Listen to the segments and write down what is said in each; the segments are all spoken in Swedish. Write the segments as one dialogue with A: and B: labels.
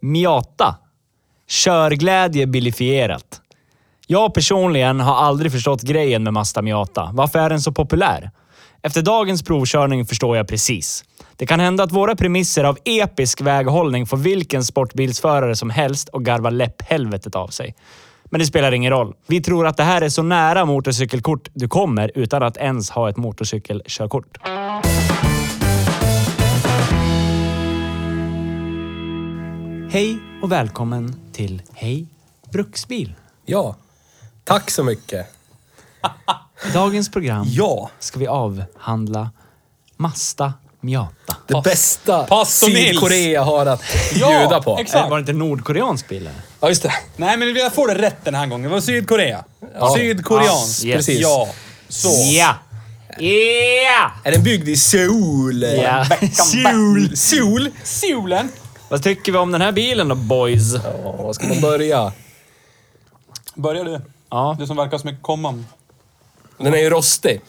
A: Miata. Körglädje bilifierat. Jag personligen har aldrig förstått grejen med Mazda Miata. Varför är den så populär? Efter dagens provkörning förstår jag precis. Det kan hända att våra premisser av episk väghållning får vilken sportbilsförare som helst och garva läpphelvetet av sig. Men det spelar ingen roll. Vi tror att det här är så nära motorcykelkort du kommer utan att ens ha ett motorcykelkörkort. Hej och välkommen till Hej Bruksbil.
B: Ja. Tack så mycket.
A: I dagens program
C: Ja.
A: ska vi avhandla Mazda Miata.
B: Det bästa
C: Pass och Nils.
B: Sydkorea har att bjuda på.
A: Exakt. Eh, Var det inte nordkoreansk bil? eller?
B: Ja, just det.
D: Nej, men jag får det rätt den här gången. Det var Sydkorea. Sydkoreansk.
A: Ja, yes.
B: precis.
D: Ja. Så.
A: Ja! Ja!
B: Är den byggd i Seoul?
A: Ja.
B: Seoul. Seoul?
D: Solen.
A: Vad tycker vi om den här bilen då boys?
B: Ja, var ska man börja?
D: Börjar du?
A: Ja,
D: Du som verkar så mycket komman.
B: Den är ju rostig.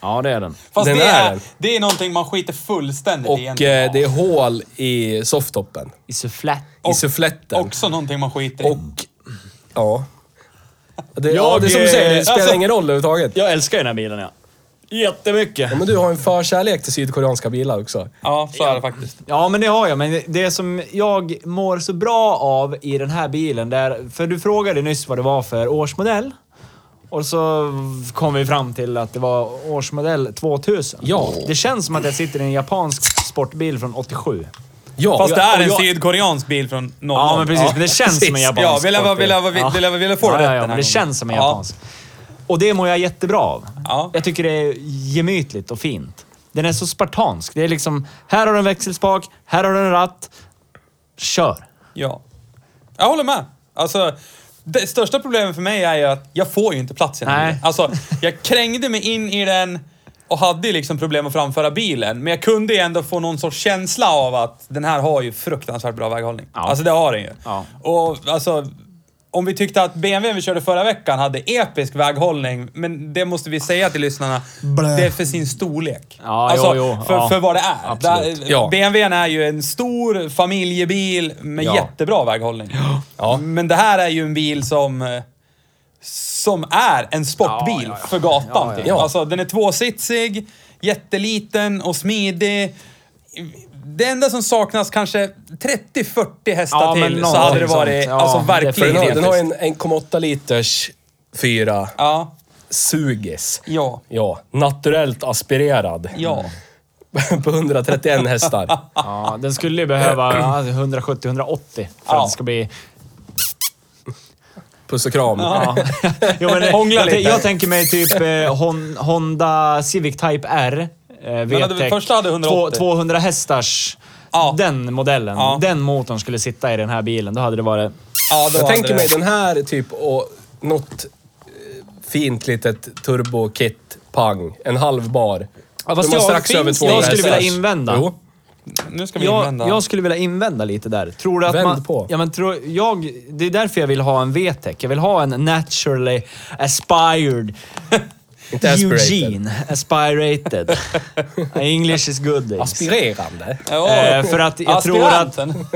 A: ja det är den.
D: Fast
B: Den
D: det,
B: är
D: är,
B: den.
D: det är någonting man skiter fullständigt i
B: Och
D: egentligen.
B: eh, det är hål i softtoppen.
A: I sufflett.
B: I
D: Och-
B: suffletten.
D: Också någonting man skiter i.
B: Och... Ja. Det, ja,
A: Jag,
B: det är som du säger, det
A: eh,
B: spelar
A: alltså-
B: ingen roll överhuvudtaget.
A: Jag älskar ju den här bilen ja. Jättemycket.
B: Ja, men du har en förkärlek till sydkoreanska bilar också.
D: Ja, så är det faktiskt.
A: Ja, men det har jag. Men det som jag mår så bra av i den här bilen, där, för du frågade nyss vad det var för årsmodell. Och så kom vi fram till att det var årsmodell 2000.
B: Ja.
A: Det känns som att jag sitter i en japansk sportbil från 87.
B: Ja,
D: Fast det
B: jag-
D: är
B: och
D: en
B: jag-
D: sydkoreansk bil från 00.
A: Ja, men precis. Men det känns som en
B: precis.
A: japansk
D: Ja, vill jag- vill jag- vill jag- vill jag- vill jag få det
A: ja,
D: rätt
A: ja,
D: den
A: ja,
D: här
A: men det
D: gången?
A: känns som en
D: Ja.
A: japansk. Och det mår jag jättebra av.
D: Ja.
A: Jag tycker det är gemytligt och fint. Den är så spartansk. Det är liksom, här har du en växelspak, här har du en ratt. Kör!
D: Ja. Jag håller med. Alltså, det största problemet för mig är ju att jag får ju inte plats i den här
A: Nej.
D: bilen. Alltså, jag krängde mig in i den och hade ju liksom problem att framföra bilen. Men jag kunde ju ändå få någon sorts känsla av att den här har ju fruktansvärt bra väghållning.
A: Ja.
D: Alltså det har den ju.
A: Ja.
D: Och alltså, om vi tyckte att BMW vi körde förra veckan hade episk väghållning, men det måste vi säga till lyssnarna, det är för sin storlek.
A: Ja,
D: alltså,
A: jo, jo,
D: för,
A: ja.
D: för vad det är.
A: Absolut.
D: Där,
B: Ja.
D: BMWn är ju en stor familjebil med
B: Ja.
D: jättebra väghållning. Men det här är ju en bil som eh, som är en sportbil
A: Ja, ja, ja.
D: för gatan.
A: Ja, ja,
D: typ.
B: ja.
D: Alltså, den är tvåsitsig, jätteliten och smidig. Det enda som saknas kanske 30-40 hästar
A: Ja, men
D: till så
A: någonting
D: hade det varit
A: sånt. Ja,
D: alltså,
B: För
D: verkligen
B: den, har, den har
D: episkt.
B: en 1,8 liters fyra
D: Ja,
B: sugis.
D: ja,
B: Ja, naturellt aspirerad.
D: ja.
B: På 131 hästar.
A: Ja, den skulle ju behöva ja, 170-180 för
D: Ja.
A: att det ska bli...
B: Puss och kram.
A: Ja. Jo, men,
D: Hångla
A: jag,
D: lite.
A: jag tänker mig typ eh, Hon, Honda Civic Type R. Eh,
D: hade-
A: VTEC.
D: första hade 180.
A: Två- 200 hästars.
D: Ja.
A: Den modellen.
D: Ja.
A: Den motorn skulle sitta i den här bilen. Då hade det varit...
D: ja då
B: Jag
D: hade
B: tänker
D: det-
B: mig den här typ och något eh, fint litet turbokit pang. En halv bar.
A: Ja,
B: De
A: fast
B: har
A: jag-
B: strax
D: finns-
B: över 200
A: jag skulle vilja
B: hästars.
A: invända.
B: Jo.
D: Nu ska vi
A: Jag,
D: invända.
A: jag skulle vilja invända lite där. Tror du att
B: Vänd
A: man,
B: på.
A: Ja, men tror, jag, det är därför jag vill ha en VTEC. Jag vill ha en naturally aspired
B: Inte aspirated.
A: Eugene aspirated. English is good. days.
B: Aspirerande.
D: Ja,
A: Eh, för att jag tror att-
D: aspiranten.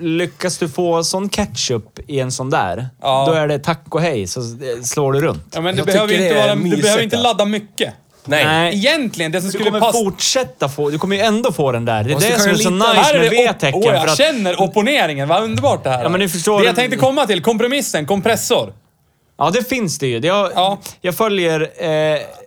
A: Lyckas du få sån ketchup i en sån där,
D: Ja.
A: då är det tack och hej så eh, slår du runt.
D: Ja, men du
B: Jag
D: behöver,
B: tycker
D: ju inte
B: det är
D: vara, du
B: mysigt,
D: behöver inte
B: ja.
D: ladda mycket.
B: Nej.
A: Nej.
D: Egentligen, det som
A: Du
D: skulle
A: kommer
D: passa...
A: fortsätta få, du kommer ju ändå få den där. Det är
B: Fast du
A: det
B: kan
A: som är
B: ju
A: så
B: lite-
A: nice med
D: det
A: V-tecken.
D: åh,
A: för
D: jag
A: att-
D: känner opponeringen. Vad underbart det här
A: Ja, men ni förstår-
D: Det jag tänkte komma till, kompromissen, kompressor.
A: Ja, det finns det ju. Det- Jag,
D: Ja.
A: jag följer eh,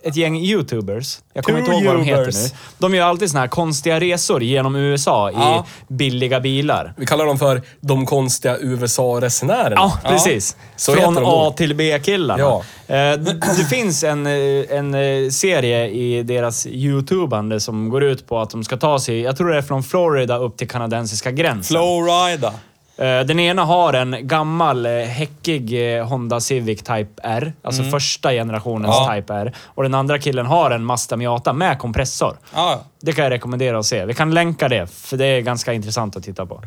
A: ett gäng YouTubers. Jag kommer inte ihåg vad de heter nu.
D: Tubers.
A: De gör alltid såna här konstiga resor genom USA
D: Ja.
A: i billiga bilar.
B: Vi kallar dem för de konstiga USA-resenärerna.
A: Ja, precis.
B: Så heter
A: Från
B: de då.
A: A till B-killarna.
B: Ja.
A: Eh, d- det finns en, eh, en eh, serie i deras YouTubande som går ut på att de ska ta sig, jag tror det är från Florida upp till kanadensiska gränsen.
D: Flowrida.
A: Eh, Den ena har en gammal eh, häckig eh, Honda Civic Type R. Alltså
B: Mm.
A: första generationens
D: Ja.
A: Type R. Och den andra killen har en Mazda Miata med kompressor.
D: Ja, ja.
A: Det kan jag rekommendera att se. Vi kan länka det, för det är ganska intressant att titta på.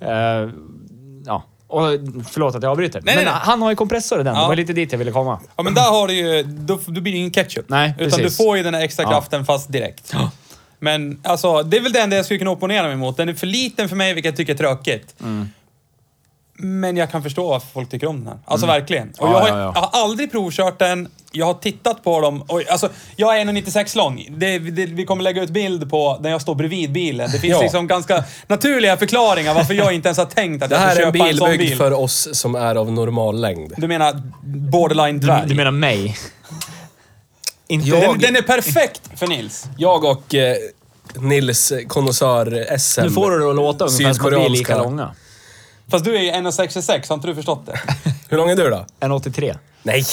A: Eh, ja. Och, förlåt att jag avbryter.
D: Nej,
A: Men
D: nej, nej.
A: han har ju kompressor i den. Det
D: Ja.
A: var lite dit jag ville komma.
D: Ja, men där har du ju... Då, då blir det ingen ketchup.
A: Nej,
D: Utan
A: precis.
D: du får ju den här extra kraften fast direkt. Men alltså, det är väl det enda jag skulle kunna opponera mig mot. Den är för liten för mig, vilket jag tycker är tråkigt.
B: Mm.
D: Men jag kan förstå varför folk tycker om den här. Alltså
B: Mm.
D: verkligen. Och
A: Ja,
D: jag, har,
A: ja, ja.
D: jag har aldrig provkört den. Jag har tittat på dem. Och, alltså, jag är 1,96 lång. Det, det, vi kommer lägga ut bild på när jag står bredvid bilen. Det finns
B: Ja.
D: liksom ganska naturliga förklaringar varför jag inte ens har tänkt att
B: Det
D: jag
B: här
D: ska
B: är en
D: köpa en
B: bil
D: sån
B: byggd
D: bil.
B: för oss som är av normal längd.
D: Du menar borderline
A: Du,
D: dvärg?
A: du menar mig? Inte
D: Den, den är perfekt för Nils.
B: Jag och eh, Nils konnässör SM.
A: Nu får du det att låta ungefär som att vi är lika
B: Sydkoreanska.
A: långa.
D: Fast du är ju 1,66, har inte du förstått det?
B: Hur lång är du då?
A: 1,83.
B: Nej.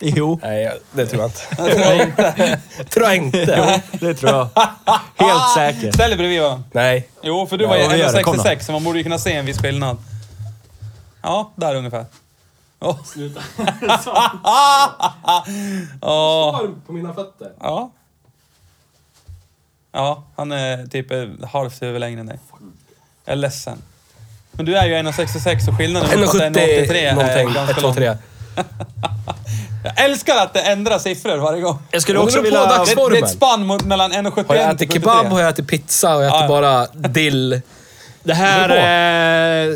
A: Jo.
B: Nej, det tror jag inte. tror jag inte.
A: Det tror jag. Helt säkert.
D: Ställ dig bredvid varandra.
B: Nej.
D: Jo, för du var ju
A: Ja, vi gör det. Kom då.
D: 1,66 så man borde ju kunna se en viss skillnad. Ja, där ungefär. Åh, Ja,
B: på mina fötter.
D: ja. Ja, han är typ eh, halvt huvud längre än dig. Jag är ledsen. Men du är ju 1,66 så skillnaden mot att det är
B: 1,70
D: är
B: någonting.
D: ganska
B: 1, 2,
D: lång.
B: 3.
D: Jag älskar att det ändrar siffror varje gång.
A: Jag skulle
B: Ja, det
A: också
B: beror på
A: vilja...
B: dags-
D: Det, det är
B: Formen.
D: ett spann mot- mellan 1,71 och 73.
B: Har jag ätit kebab, har jag ätit pizza och jag äter
D: Ja.
B: bara dill.
A: Det här, eh,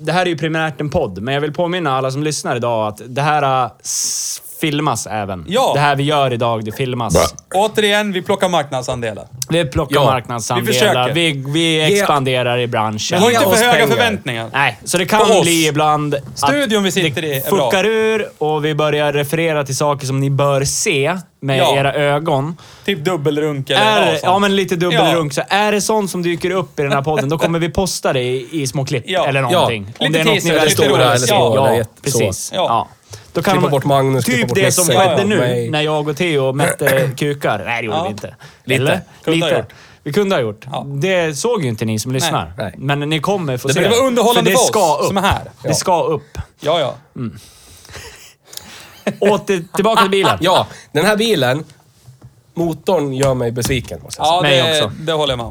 A: det här är ju primärt en podd, men jag vill påminna alla som lyssnar idag att det här eh, s- filmas även.
D: Ja.
A: Det här vi gör idag, det filmas.
D: Återigen, vi plockar marknadsandelar.
A: Vi plockar
B: Ja,
D: vi
A: marknadsandelar,
D: försöker.
A: vi, vi, expanderar i branschen.
D: Men har inte
B: oss
D: för höga
B: pengar.
D: förväntningar.
A: Nej, så det
D: På
A: kan
D: oss.
A: bli ibland att
D: Studion vi sitter i
A: det
D: är bra.
A: fuckar ur och vi börjar referera till saker som ni bör se med
D: Ja.
A: era ögon.
D: Typ dubbelrunk eller vad
A: Är,
D: som.
A: ja, men lite dubbelrunk.
D: Ja.
A: Så är det sånt som dyker upp i den här podden, då kommer vi posta det i, i små klipp
D: Ja.
A: eller
D: Ja.
A: någonting.
D: Lite
A: Om det är något
D: teaser,
A: ni
D: lite
A: väldigt
D: stora eller små,
A: Ja,
B: eller jätte-
A: precis.
B: så.
A: Ja.
D: Ja.
A: Då kan
B: Klippa
A: man-
B: bort Magnus,
A: Typ
B: klippa bort
A: det
B: Nisse,
A: som
B: klippa
A: skedde
B: bort
A: nu
B: mig.
A: när jag och Theo mätte kukar. Nej, det gjorde
D: Ja.
A: vi inte.
B: Lite.
A: Eller?
D: Kunde ha
A: Lite.
D: gjort.
A: Vi kunde ha gjort.
D: Ja.
A: Det såg ju inte ni som lyssnar.
B: Nej.
A: Men ni kommer få
D: Det
A: se.
D: blir bara underhållande
A: För det
D: för oss
A: ska upp.
D: som är här.
A: Det ska Mm. upp.
D: Ja, ja.
A: Åter, tillbaka till bilen.
B: Ja, den här bilen. Motorn gör mig besviken måste jag säga.
D: Ja,
A: Mig
D: det,
A: också.
D: det håller jag med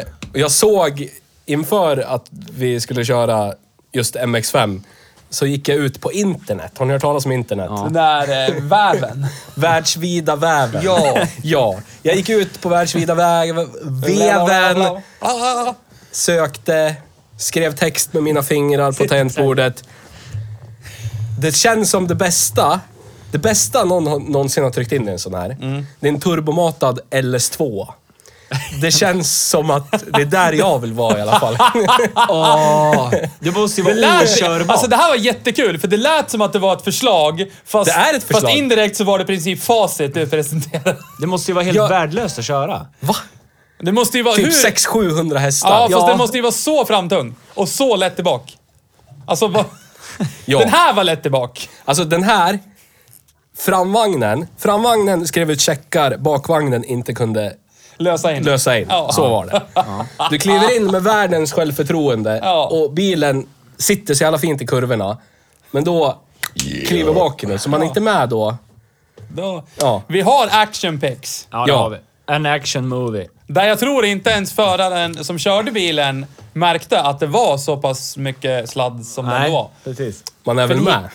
D: om.
B: Eh, och jag såg inför att vi skulle köra just MX5 så gick jag ut på internet. Har ni hört talas om internet?
D: Den där eh, väven.
B: Världsvida väven. Ja. ja. Jag gick ut på världsvida väven, veven,
D: Ah,
B: sökte, skrev text med mina fingrar på tangentbordet. Det känns som det bästa. Det bästa någon har- någonsin har tryckt in i en sån här. Det är en turbomatad LS2. Det känns som att det är där jag vill vara i alla fall.
A: Åh, det måste ju
D: Det
A: vara
D: lät,
A: okörbart.
D: alltså det här var jättekul, för det lät som att det var ett förslag. Fast,
B: Det är ett förslag.
D: fast indirekt så var det i princip facit du presenterade.
A: det måste ju vara helt
B: Jag-
A: värdelöst att köra.
B: Va?
D: Det måste ju vara...
B: Typ
D: hur?
B: 600-700 hästar.
D: Ja, fast
A: Ja.
D: den måste ju vara så framtung. Och så lätt tillbaka. Alltså, vad-
B: Ja.
D: den här var lätt tillbaka.
B: Alltså den här framvagnen, framvagnen skrev ut checkar bakvagnen inte kunde
D: Lösa in.
B: lösa in.
D: Ja.
B: Så var det. Du kliver in med världens självförtroende
D: Ja.
B: och bilen sitter så jävla fint i kurvorna. Men då kliver baken ut, så man är inte med då.
D: Då,
B: Ja.
D: Vi har action pics.
A: Ja, det
B: Ja.
A: har vi. En action movie.
D: Där jag tror inte ens föraren som körde bilen märkte att det var så pass mycket sladd som det
A: Nej,
D: var.
A: precis.
B: Man är väl med?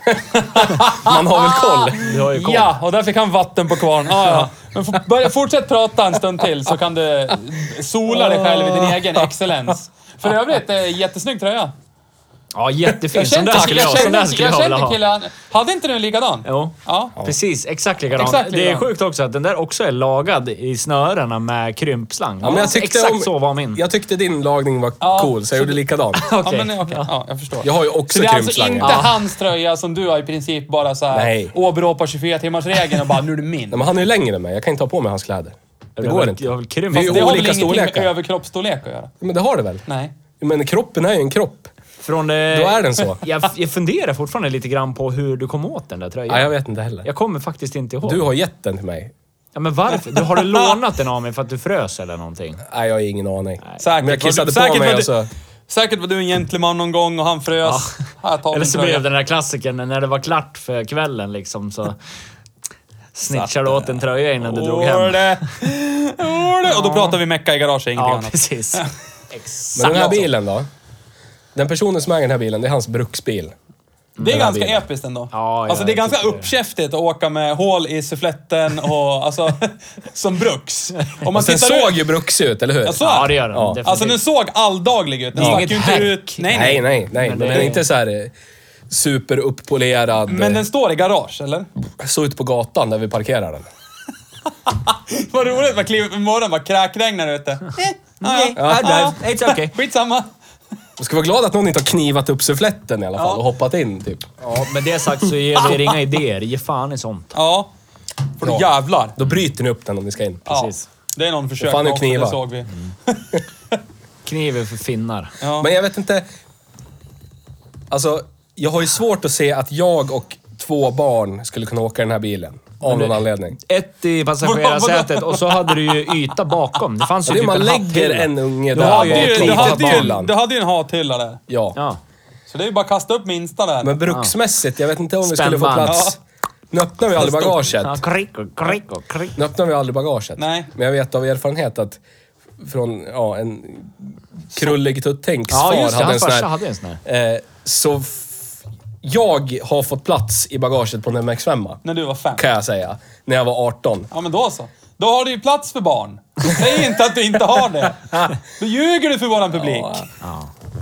B: man har väl koll?
A: Du har ju koll.
D: Ja, och där fick han vatten på kvarn. Ah, ja. Men f- börja, fortsätt prata en stund till så kan du
A: Ah.
D: sola dig själv i din egen excellens. För övrigt, eh, jättesnygg tröja.
A: Ja, jättefin. Sån
D: kände-
A: där skulle jag, sån där
D: jag,
A: skulle
D: kände-
A: jag vilja
D: jag
A: ha.
D: kände killen. Hade inte du en likadan?
A: Jo.
D: Ja.
A: Precis, exakt likadan.
D: Exakt
A: Det är
D: likadan.
A: sjukt också att den där också är lagad i snörena med krympslang. Alltså,
B: Ja, men jag tyckte
A: exakt
B: om-
A: så var min.
B: Jag tyckte din lagning var
D: Ja,
B: cool, så jag
D: så
B: gjorde likadan.
D: Ja,
A: Okej.
D: men, okej. ja, jag förstår.
B: Jag har ju
D: Så
B: också
D: det är alltså inte
B: krympslangar. Nej,
D: hans tröja som du har i princip bara så här
B: Nej.
D: åberopar 24-timmarsregeln och bara nu är det min.
B: men han är ju längre än mig. Jag kan inte ha på mig hans kläder. Det
A: Jag
B: går
A: vill-
B: inte.
A: Jag vill krympa.
B: Vi är
A: Fast
D: det
A: det
D: har
A: var
D: väl
B: olika
D: ingenting
B: storlekar.
D: med överkroppsstorlek att göra?
B: Men det har det väl?
D: Nej.
B: Men kroppen är ju en kropp.
A: Från det...
B: Då är den så.
A: Jag, jag funderar fortfarande lite grann på hur du kom åt den där tröjan.
B: Nej, jag vet inte heller.
A: Jag kommer faktiskt inte ihåg.
B: Du har gett den till mig.
A: Ja, men varför? Du, har du lånat den av mig för att du frös eller någonting?
B: Nej, jag har ingen aning.
D: Säkert
B: Men jag
D: var
B: kissade
D: du-
B: på
D: säkert
B: mig alltså.
D: var
B: och
D: du-
B: så...
D: Säkert var du en gentleman någon gång och han frös. Här, ta
A: Eller
D: min
A: så
D: tröja.
A: blev den där klassiken när det var klart för kvällen liksom så... Snitchar du åt en tröja innan du drog hem.
D: Åle. Åle. Och då pratar vi mecka i garaget, ingenting
A: Ja,
D: annat.
A: precis.
B: Men
A: Exakt.
B: den här bilen då? Den personen som äger den här bilen, det är hans bruksbil.
D: Det är
B: Den här
D: ganska
B: bilen.
D: episkt ändå.
A: Ja, ja,
D: alltså det
A: jag
D: är ganska
A: tycker det.
D: uppkäftigt att åka med hål i suffletten och alltså som bruks. Om man
B: Sen
D: tittar ut-
B: såg ju bruks ut, eller hur?
D: Jag såg-
A: Ja, det gör den.
B: Ja.
A: definitivt.
D: Alltså den såg alldaglig ut. Den
A: Ja.
D: stack
A: Inget
D: ju inte
A: hack.
D: ut. Nej,
B: Nej,
D: nej.
B: nej, nej.
A: Men
B: Men
A: det-
B: den är inte så här eh, superuppolerad.
D: Men den
B: eh,
D: står i garage, eller?
B: Såg eh, ut på gatan där vi parkerar den.
D: Vad roligt, man kliver upp i morgonen bara kräkregnar ute. Eh, ja, ja.
A: Ja, det- it's okay.
D: Skitsamma.
B: Du ska vara glad att någon inte har knivat upp suffletten i alla fall
D: Ja.
B: och hoppat in typ.
A: Ja, med det sagt så ger vi er inga idéer. Ge fan i sånt.
D: Ja. För då jävlar.
B: Då bryter ni upp den om ni ska in.
D: Ja.
A: Precis.
D: Det är någon försök
B: Fan, det
D: också,
B: knivar. Mm.
D: det såg vi.
A: Kniven för finnar.
D: Ja.
B: Men jag vet inte... Alltså, jag har ju svårt att se att jag och två barn skulle kunna åka den här bilen. Av någon anledning.
A: Ett i passagerarsätet och så hade du ju yta bakom. Det fanns ju
B: Det är
A: typ
B: man
A: en
B: lägger
A: hatthylla.
B: en unge
A: Du
B: där
A: har
D: Du
A: ju
D: hade ju,
A: ett
D: du,
A: litet
D: hade ju,
B: Banan.
D: du hade ju en hathylla där.
B: Ja.
A: Ja.
D: Så det är ju bara att kasta upp minsta där.
B: Men bruksmässigt, jag vet inte om vi skulle få
A: Spännband.
B: plats. Nu öppnar vi aldrig bagaget.
A: Ja, krick och krick och krick.
B: Nu öppnar vi aldrig bagaget.
D: Nej.
B: Men jag vet av erfarenhet att från ja, en krullig tutttänks
A: Ja,
B: far
A: just det.
B: hade en
A: Hans
B: sån
A: farsa
B: här.
A: hade en sån här.
B: Eh, så f- jag har fått plats i bagaget på en MX5.
D: När du var fem.
B: Kan jag säga. När jag var 18.
D: Ja, men då så. Då har du ju plats för barn. Säg inte att du inte har det. Då ljuger du för våran publik.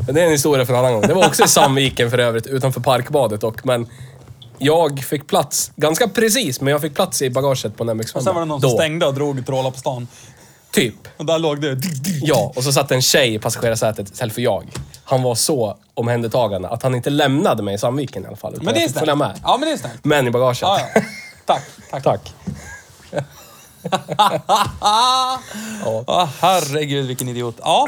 B: Men det är en historia för en annan gång. Det var också i Sandviken för övrigt, utanför parkbadet dock. Men jag fick plats, ganska precis, men jag fick plats i bagaget på en MX5.
D: Och sen var det någon
B: Då.
D: som stängde och drog trålar på stan.
B: Typ.
D: Och där låg du.
B: Ja, och så satt en tjej i passagerarsätet istället för jag. Han var så omhändertagande att han inte lämnade mig i Sandviken i alla fall. utan
D: Men det är
B: jag fick följa
D: snällt.
B: med.
D: Ja, men det är snällt.
B: Men i bagaget.
D: Ja, ja. Tack, tack.
B: Tack.
D: Ja, herregud vilken idiot. Ja,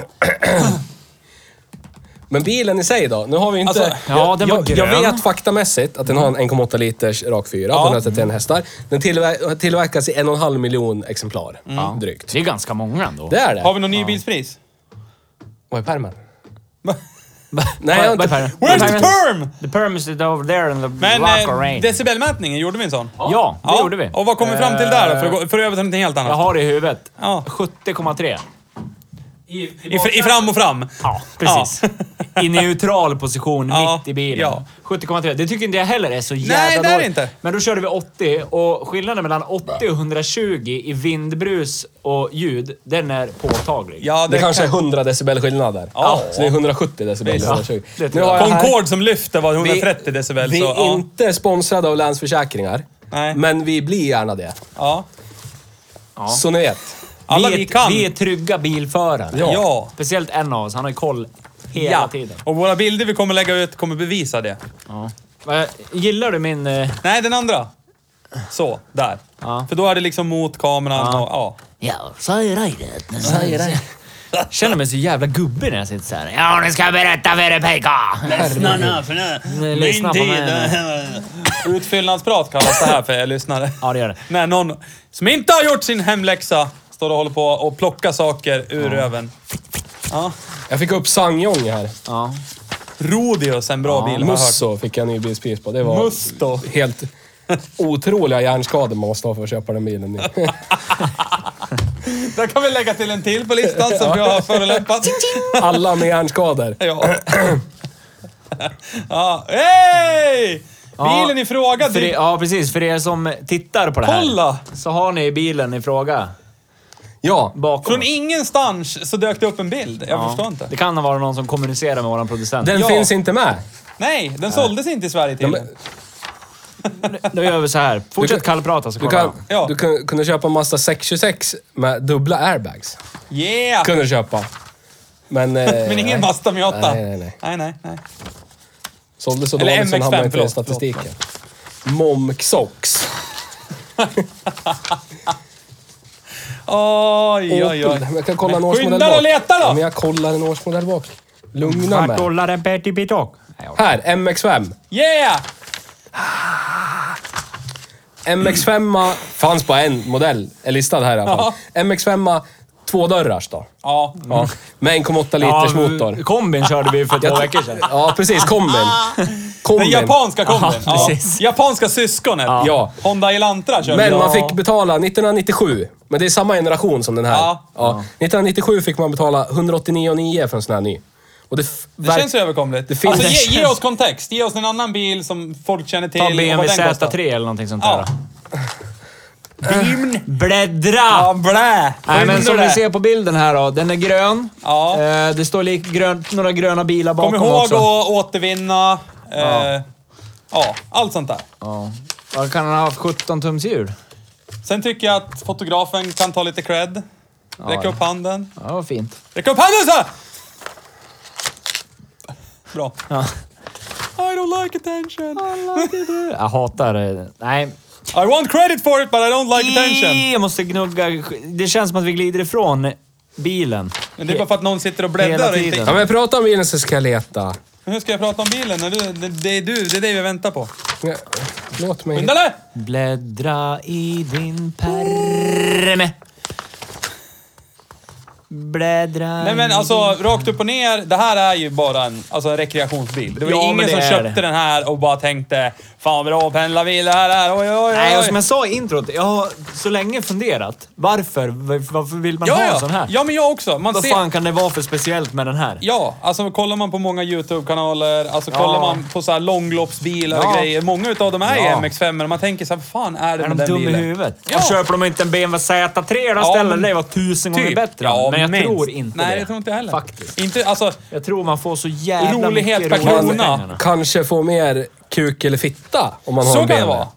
B: Men bilen i sig då? Nu har vi inte...
D: Alltså,
A: ja, den var
B: jag, jag
A: grön.
B: vet faktamässigt att den har en 1,8 liters rak 4
D: Ja.
B: på 131 hästar. Den tillver- tillverkas i 1,5 miljon exemplar, drygt.
A: Det är ganska många ändå.
B: Det är det.
D: har vi någon nybilspris?
B: Vad är pärmen?
A: Vad-
B: Nej, jag har
A: vad
B: inte...
A: är
D: Where's the
A: perm?
D: perm?
A: The perm is over there in the
D: Men
A: rock
D: eh,
A: rain.
D: decibelmätningen, gjorde vi en sån?
A: Ja, det gjorde vi. Eh,
D: Och vad kom vi fram till där då? För att, gå, för att över till någonting helt
A: Jag
D: annat.
A: har det i huvudet.
D: Ja.
A: 70,3. I,
D: I, fr- I fram och fram.
A: Ja, precis. I neutral position
D: Ja,
A: mitt i bilen.
D: ja.
A: 70,3. Det tycker inte jag heller är så jävla
D: Nej, det är det
A: dåligt.
D: inte.
A: Men då körde vi 80 och skillnaden mellan 80 och 120 i vindbrus och ljud, den är påtaglig.
D: Ja,
B: Det kanske är
D: kan-
B: 100 decibel skillnad där.
D: Ja.
B: Så det är 170 decibel.
D: Visst.
B: 120.
A: Ja, det tror
B: Nu
A: jag.
B: har jag
D: På
B: här...
D: en kod som lyfter var 130 decibel.
B: Vi
D: så,
B: är
D: ja.
B: inte sponsrade av Länsförsäkringar.
D: Nej.
B: Men vi blir gärna det.
D: Ja.
B: Så ni vet.
D: Alla
A: är-
D: vi kan.
A: Vi är trygga bilförare.
D: Ja.
A: Speciellt en av oss, han har ju koll hela
D: Ja.
A: tiden.
D: Och våra bilder vi kommer lägga ut kommer bevisa det.
A: Va, Gillar du min... eh,
D: Nej, den andra. Så, där.
A: Ja.
D: För då är det liksom mot kameran och ja.
E: Ja, säger dig det. Den säger dig.
A: känner mig så jävla gubbe när jag sitter så här. Ja, nu ska jag berätta för dig pojkar!
E: Lyssna nu, för nu.
A: Nu lyssnar eh, på mig nu.
D: Utfyllnadsprat kallas det här för er lyssnare.
A: Ja, det gör det.
D: När någon som inte har gjort sin hemläxa står och håller på och plockar saker ur röven. Ja.
B: Jag fick upp Sangyong här.
A: Ja.
D: Rodius, en bra bil har jag hört.
B: Musso fick jag nybilspris på. Det var
D: Musto.
B: helt otroliga hjärnskador man måste ha för att köpa den bilen.
D: Där kan vi lägga till en till på listan som jag har förolämpat.
B: Alla med hjärnskador.
D: Ja. ja. Hej!
A: Ja,
D: Bilen i fråga
A: För det,
D: dyker
A: ja, precis. För er som tittar på det här.
D: Kolla!
A: Så har ni bilen i fråga.
B: Ja,
A: bakom
D: Från
A: oss.
D: ingenstans så dök det upp en bild. Jag
A: Ja.
D: förstår inte.
A: Det kan ha varit någon som kommunicerar med våran producent.
B: den
D: Ja.
B: finns inte med.
D: Nej, den såldes inte i Sverige till.
B: men-
A: Nu gör vi så här. Fortsätt
B: Du-
A: kallprata så
B: Du,
A: kollar
B: kan,
A: jag.
D: Ja.
B: du kan, kunde köpa en Mazda 626 med dubbla airbags.
D: Yeah!
B: Kunde du köpa. Men... eh,
D: Men ingen
B: nej.
D: Mazda Miata.
B: Nej, nej, nej.
D: nej, nej, nej.
B: Sålde så
D: Eller
B: dåligt så den
D: MX5,
B: hamnade inte i
D: förlåt,
B: statistiken. Momxox.
D: Oj, oj,
B: Opel.
D: oj.
B: Men Jag kan kolla en
D: Men
B: årsmodell
D: skynda
B: bak.
D: och leta då!
B: Ja, men jag kollar en årsmodell bak. Lugna
A: Vart
B: mig.
A: dollar en petty bitok?
B: Här, MX5.
D: Yeah!
B: MX5 fanns bara en modell, är listad här i alla fall. MX5 två dörrars då.
D: Ja.
B: Ja, med 1,8 liters motor.
A: Kombin körde vi för två veckor sedan.
B: Ja, precis. Kombin.
D: Den
B: Kombin.
D: japanska kombin.
A: Ja,
D: Ja,
A: precis.
D: Japanska syskonet.
B: Ja.
D: Honda Elantra körde
B: Men
D: jag.
B: man fick betala 1997. Men det är samma generation som den här.
D: Ja.
B: 1997 fick man betala 189,9 för en sån här ny. Och det, f-
D: Det
B: verk-
D: känns överkomligt.
B: Det finns-
D: alltså,
B: Det
D: ge, ge
A: känns-
D: oss kontext. Ge oss en annan bil som folk känner till.
A: Ta
D: och vad
A: BMW
D: den kostar.
A: Z3 eller någonting sånt där.
D: Ja.
A: Bim, bläddra!
D: Ja, blä!
A: Nej, men som
D: Undrar
A: ni
D: det.
A: ser på bilden här då. Den är grön.
D: Ja.
A: Eh, det står lik grön, några gröna bilar
D: Kom
A: bakom
D: ihåg
A: också.
D: att återvinna. Eh, ja. allt sånt där.
A: Ja. Ja, Kan han ha haft 17 tums hjul?
D: Sen tycker jag att fotografen kan ta lite cred. Räcka upp handen.
A: Ja, vad fint.
D: Räcka upp handen så! här! Bra. I don't like attention.
A: Jag hatar det. Nej.
D: I want credit for it but I don't like attention.
A: Jag måste gnugga. Det känns som att vi glider ifrån bilen.
D: Men det är bara för att någon sitter och
A: Hela
D: bläddrar och inte...
A: tiden.
B: Ja, men prata om bilen så ska jag leta.
D: Men Hur ska jag prata om bilen? När du, det, det är du, det är det vi väntar på.
B: Ja, Låt mig...
D: Skynda dig!
A: Bläddra i din pärm. Bläddra
D: Nej men
A: i
D: alltså, rakt upp och ner. Det här är ju bara en, alltså, en rekreationsbil. Det var
A: Ja, men
D: ingen
A: det
D: som
A: är
D: köpte
A: det.
D: den här och bara tänkte Fan bra pendlarbil det här är. Oj, oj, oj.
A: Nej, och som jag sa i introt, jag har så länge funderat. Varför? Varför varför vill man ha
D: ja,
A: en
D: ja.
A: sån här?
D: ja, men jag också. Man
A: Vad
D: ser,
A: fan kan det vara för speciellt med den här?
D: Ja, alltså kollar man på många YouTube-kanaler, alltså kollar man på så här långloppsbilar och
A: Ja.
D: grejer. Många utav dem är ju
A: Ja.
D: MX5 och man tänker så här, vad fan är det
A: Är de
D: med den
A: dumma i
D: bilen?
A: huvudet?
D: Ja.
A: Och köper de inte en BMW Z3 då
D: Ja,
A: ställer
D: men-
A: det var tusen gånger
D: Typ.
A: bättre.
D: Ja,
A: men jag
D: minst.
A: tror inte
D: Nej,
A: det.
D: jag tror inte jag heller.
A: Faktiskt.
D: Inte, alltså,
A: Jag tror man får så jävla
D: Rolighet
A: mycket
D: per
A: roligare
D: krona.
A: för pengarna.
B: Kanske få mer kuk eller fitta om man har
D: så
B: en
D: kan
B: BMW.
D: det vara.